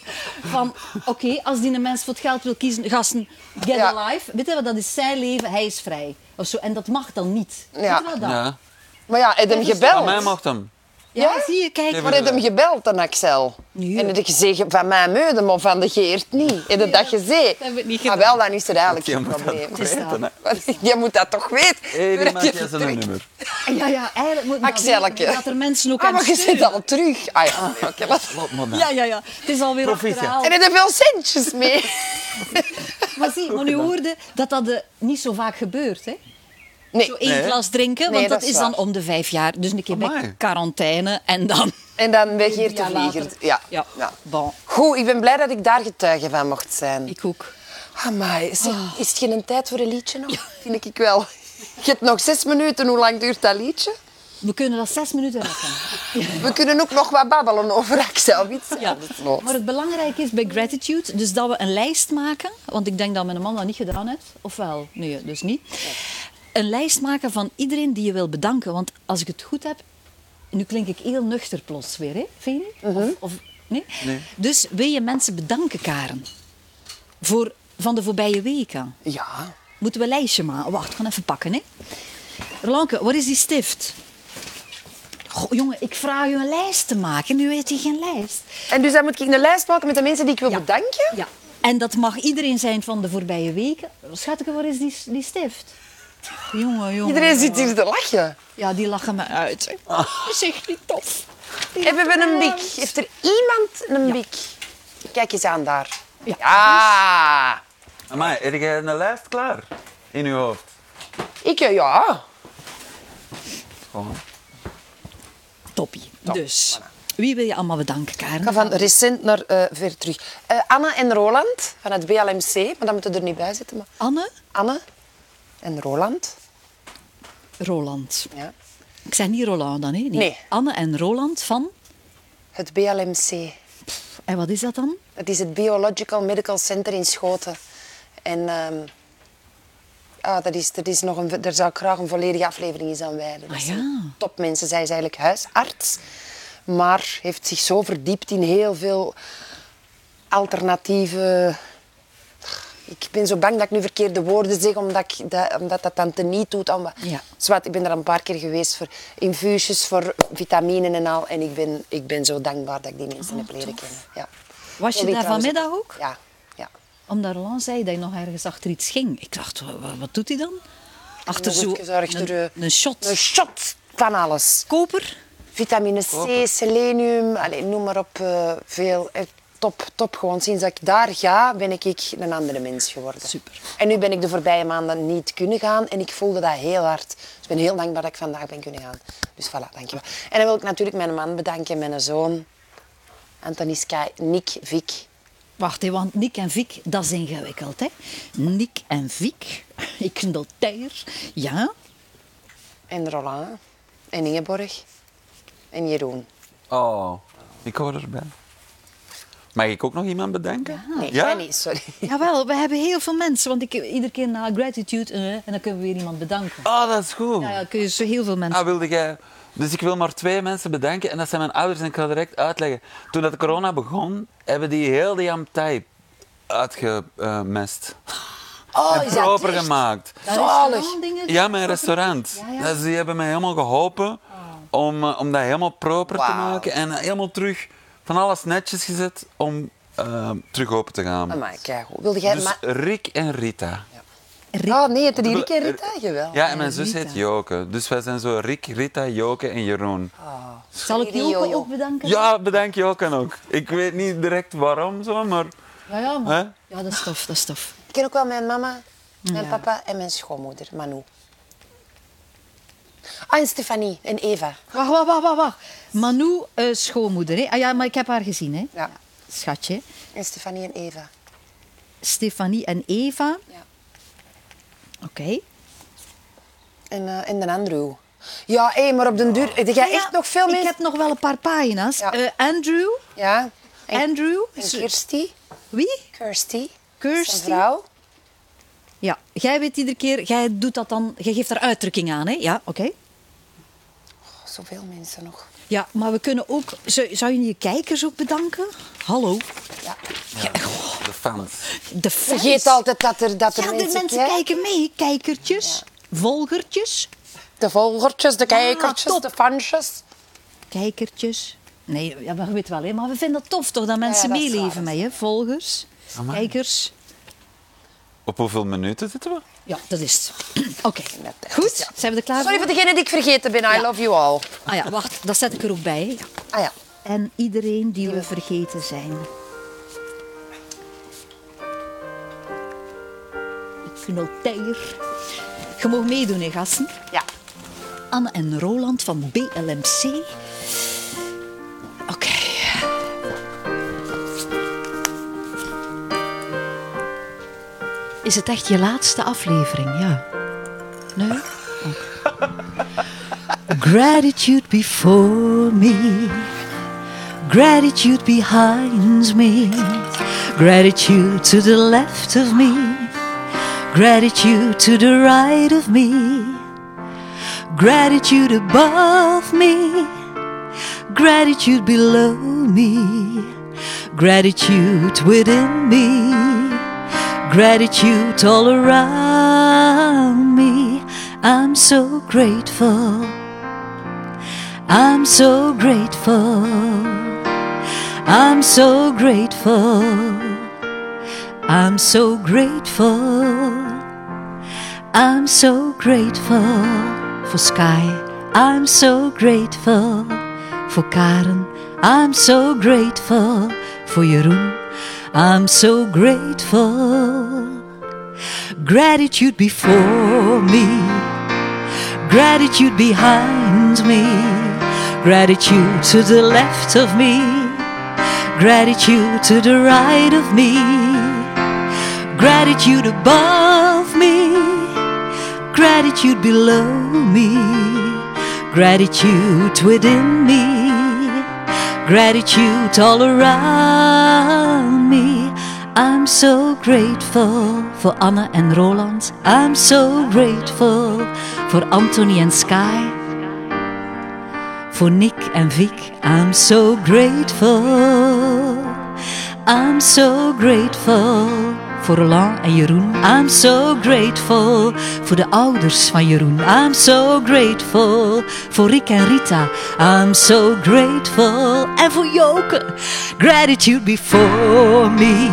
van, oké, als die een mens voor het geld wil kiezen, gasten, get
Ja.
alive. Weet je wat, dat is zijn leven, hij is vrij. Of zo. En dat mag dan niet.
Ja.
Weet je wel dat?
Ja.
Maar ja, heb je hem
dus Van mij
gebeld?
mocht hem.
Ja,
Ja?
zie je, kijk.
Even- eh,
Maar heb je hem gebeld dan, Axel?
Nee.
En heb je gezegd, van mij meuden, maar van de Geert niet. Heb je dat gezegd?
hebben we niet
Ah,
gedaan.
wel, dan is er eigenlijk
Je
geen
moet dat
probleem. <laughs>
toch
is dat.
weten, hè.
Want Je moet dat toch weten?
Hé, die
Voordat
maakt jij
het
zijn
terug-
nummer.
Ja, ja, eigenlijk moet dat
Axelletje.
weten, dat er mensen ook
Ah,
aan
maar je
steunen.
zit al terug. Ah ja, nee, oké. wat-
Laat maar dan.
Ja, ja, ja. Het is alweer
Proficiat.
achterhaald.
En <laughs> heb je veel centjes
<laughs>
mee?
Maar zie, maar nu hoorde dat dat eh, niet zo vaak gebeurt, hè?
Nee.
Zo één
Nee.
glas drinken, want
Nee,
dat,
dat is
is dan
waar.
om de vijf jaar. Dus een keer bij
Amai.
quarantaine en dan...
En dan ben Geert de
jaar
Vlieger.
later.
Ja.
Ja.
ja.
Bon.
Goed, ik ben blij dat ik daar getuige van mocht zijn.
Ik ook.
Amai, zeg, is het geen tijd voor een liedje nog? Vind ik wel. Je hebt nog zes minuten. Hoe lang duurt dat liedje?
We kunnen dat zes minuten rekken.
We kunnen ook nog wat babbelen over Axel Witz.
Ja. Maar het belangrijke is bij gratitude, dus dat we een lijst maken. Want ik denk dat mijn man dat niet gedaan heeft. Ofwel, nee, dus niet. Een lijst maken van iedereen die je wil bedanken. Want als ik het goed heb, nu klink ik heel nuchter plots weer, hè? vind je niet?
Mhm.
Of, of, nee? Dus wil je mensen bedanken, Karen? Voor, van de voorbije weken.
Ja.
Moeten we een lijstje maken? Oh, Wacht, ik ga even pakken, hè. Rolanke, wat is die stift? Goh, jongen, ik vraag je een lijst te maken. Nu heeft hij geen lijst.
En dus dan moet ik een lijst maken met de mensen die ik wil bedanken?
Ja. En dat mag iedereen zijn van de voorbije weken. Schatke, waar is die, die stift? Jongen, jongen.
Iedereen Ah. zit
jongen.
hier te lachen.
Ja, die lachen me uit. hè. Dat is echt niet tof. Die
Hebben we
lachen
een
me
bik?
uit.
Heeft er iemand een bik? Kijk eens aan daar. Ja.
Amai, heb jij een lijst klaar in je hoofd?
Ik, eh, ja.
Gewoon.
Toppie. Dus, wie wil je allemaal bedanken, Karen?
Ik ga van recent naar eh, ver terug. Eh, Anne en Roland van het BLMC, maar dat moeten er niet bij zitten. Maar
Anne
Anne en Roland.
Roland.
Ja.
Ik zeg niet Roland dan, hè? Nee.
Nee.
Anne en Roland van...
Het BLMC.
En wat is dat dan?
Dat is het Biological Medical Center in Schoten. En ehm, ah, dat is, dat is nog een, daar zou ik graag een volledige aflevering eens aan wijden. Dat
Ah,
zijn
ja.
Topmensen. Zij is eigenlijk huisarts, maar heeft zich zo verdiept in heel veel alternatieve... Ik ben zo bang dat ik nu verkeerde woorden zeg, omdat, ik dat, omdat dat dan teniet doet. aan wat-
Ja.
Zwart, ik ben er een paar keer geweest voor infuusjes, voor vitaminen en al. En ik ben, ik ben zo dankbaar dat ik die mensen
Oh,
heb leren kennen. Ja.
Was je
Wil die
daar
trouwens-
vanmiddag ook?
Ja. ja.
Omdat Roland zei dat hij nog ergens achter iets ging. Ik dacht, wa- wa- wat, doet hij dan? Achter
Dan
zo
moet je zo achter,
een,
eh,
een shot.
Een shot van alles.
Koper?
Vitamine C, selenium, allez, noem maar op. eh, veel. Eh, Top, top. Gewoon sinds dat ik daar ga, ben ik ik een andere mens geworden.
Super.
En nu ben ik de voorbije maanden niet kunnen gaan en ik voelde dat heel hard. Dus ik ben heel dankbaar dat ik vandaag ben kunnen gaan. Dus voilà, dankjewel. En dan wil ik natuurlijk mijn man bedanken, mijn zoon, Antoniska, Nick, Vic.
Wacht, hè, want Nick en Vic, dat is ingewikkeld, hè? Nick en Vic, <laughs> ik noteer. Ja,
En Roland. En Ingeborg. En Jeroen.
Oh, ik hoor erbij. Mag ik ook nog iemand bedenken?
Nee,
Ja?
jij niet, sorry.
jawel, we hebben heel veel mensen, want ik iedere keer na gratitude eh, en dan kunnen we weer iemand bedanken.
Oh, dat is goed.
Ja, ja, kun je zo heel veel mensen.
Ah, wilde jij... Dus ik wil maar twee mensen bedenken en dat zijn mijn ouders en ik ga direct uitleggen. Toen dat de corona begon, hebben die heel die Amtai
<laughs>
uitgemest.
Oh,
en proper gemaakt.
Dat is
zalig.
gewoon dingen die-
Ja, mijn restaurant.
Ja, ja.
Dus die hebben mij helemaal geholpen om, eh, om dat helemaal proper te
Wauw.
maken. En helemaal terug van alles netjes gezet om eh, terug open te gaan.
Amai, keigoed. Wilde jij...
Dus
maar-
Rick en Rita.
Rick.
Oh nee, het is Rieke en Rita, jawel.
Ja, en mijn zus
Rita.
heet Joke. Dus wij zijn zo Rick, Rita, Joke en Jeroen.
Zal ik
Rio,
Joke
joh.
ook bedanken?
Ja, bedank Joke ook. Ik weet niet direct waarom zo, maar...
Ja, ja, maar-
Hè?
ja, dat is tof, dat is tof.
Ik ken ook wel mijn mama, mijn papa en mijn schoonmoeder, Manu. Ah, en Stefanie en Eva.
Wacht, wacht, wacht, wacht. wacht. Manu, eh, schoonmoeder. Hè? Ah ja, maar ik heb haar gezien, hè?
Ja.
Schatje.
En Stefanie en Eva.
Stefanie en Eva.
Ja.
Oké.
En, eh, en de Andrew. Ja, hé, maar op den duur... Heb jij
Ja,
echt nog veel
Ik
mensen?
heb nog wel een paar pagina's.
Ja.
Eh, Andrew.
Ja. En,
Andrew.
en
is-
Kirsty.
Wie?
Kirsty.
Kirsty.
Zijn vrouw.
Ja, jij weet iedere keer, jij doet dat dan, jij geeft daar uitdrukking aan, hè? Ja, oké.
Oh, zoveel mensen nog.
Ja, maar we kunnen ook, zou, zou je je kijkers ook bedanken? Hallo.
Ja.
De fans.
De fans.
Vergeet altijd dat er, dat er
Ja, de
mensen,
mensen, kijken mee. Kijkertjes, volgertjes,
De volgertjes, de kijkertjes,
top.
de fansjes.
kijkertjes. Nee, ja, maar je weet wel, hè? maar we vinden het tof toch dat mensen
dat is
meeleven
waar, dat
mee, hè? Volgers,
Amai.
kijkers.
Op hoeveel minuten zitten we?
Ja, dat is het. <clears throat> Oké,
dat is
goed.
het, ja.
Zijn we er klaar
Sorry
voor?
voor degene die ik vergeten ben. I love you all.
Ah ja, wacht, dat zet ik er ook bij. hè. Ja.
Ah ja.
En iedereen die we vergeten zijn. Knolteier. Je mag meedoen, hè, gasten.
Ja.
Anne en Roland van BLMC. Oké. Is het echt je laatste aflevering? Ja. Nee? Oké. Oh. Gratitude before me, gratitude behind me, gratitude to the left of me, gratitude to the right of me, gratitude above me, gratitude below me, gratitude within me, gratitude all around me. I'm so grateful. I'm so grateful. I'm so grateful. I'm so grateful. I'm so grateful for Sky. I'm so grateful voor Karen. I'm so grateful voor Jeroen. I'm so grateful. Gratitude before me. Gratitude behind me. Gratitude to the left of me. Gratitude to the right of me. Gratitude above me. Gratitude below me. Gratitude within me. Gratitude all around me. I'm so grateful voor Anne en Roland. I'm so grateful voor Anthony en Sky. Voor Nick en Vic. I'm so grateful. I'm so grateful voor Roland en Jeroen. I'm so grateful voor de ouders van Jeroen. I'm so grateful voor Rick en Rita. I'm so grateful. En voor Joke. Gratitude before me.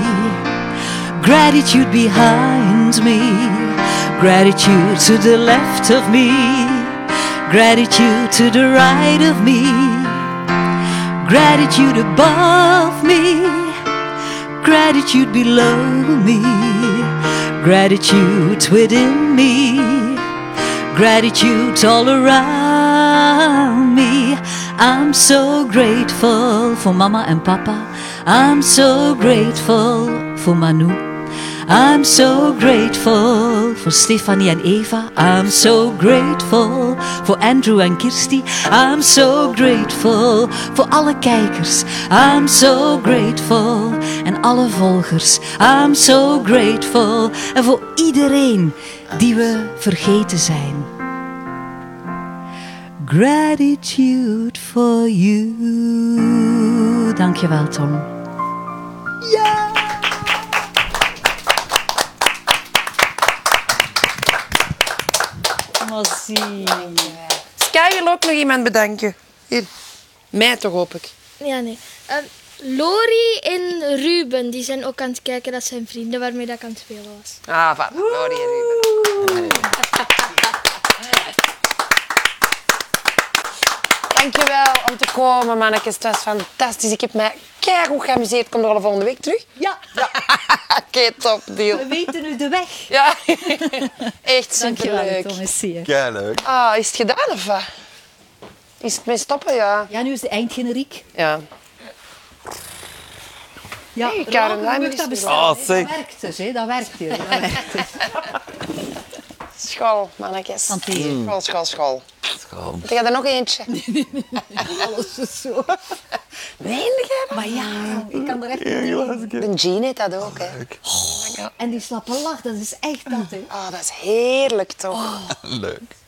Gratitude behind me. Gratitude to the left of me. Gratitude to the right of me. Gratitude above me. Gratitude below me. Gratitude within me. Gratitude all around me. I'm so grateful for mama and papa. I'm so grateful for Manu. I'm so grateful voor Stefanie en Eva. I'm so grateful voor Andrew en Kirsty. I'm so grateful voor alle kijkers. I'm so grateful en alle volgers. I'm so grateful en voor iedereen die we vergeten zijn. Gratitude for you. Dankjewel, Tom.
Sky wil ook nog iemand bedanken. Hier. Mij toch, hoop ik.
Ja, nee. Ehm, Lori en Ruben, die zijn ook aan het kijken. Dat zijn vrienden waarmee dat ik aan het spelen was.
Ah, voilà. Lori en Ruben.
Dankjewel om te komen, mannetjes. Het was fantastisch. Ik heb mij keigoed geamuseerd. Kom er al volgende week terug?
Ja,
Oké, top deal.
we weten nu de weg.
Ja, <laughs> echt
Dankjewel,
superleuk.
Thomas. Sier.
Kei leuk.
Ah, is het gedaan of wat? Is het mee stoppen, ja?
Ja, nu is de eindgeneriek.
Ja.
Ja,
Nee, Karen
Roland,
Luijmen
moet
is
dat
er
bestaan.
Ah,
Dat
zeg.
werkt dus, hè. Dat werkt hier. Dat werkt.
School, mannetjes.
Hanteren.
School, school, school.
Schoon.
Heb jij er nog eentje?
Alles is zo.
Nee, Gerard.
Maar ja, ik kan er echt
Ja, glaasje.
De Jean heeft dat ook, hè.
En die slappe lach, dat is echt dat, hè.
Ah, dat is heerlijk, toch?
Leuk.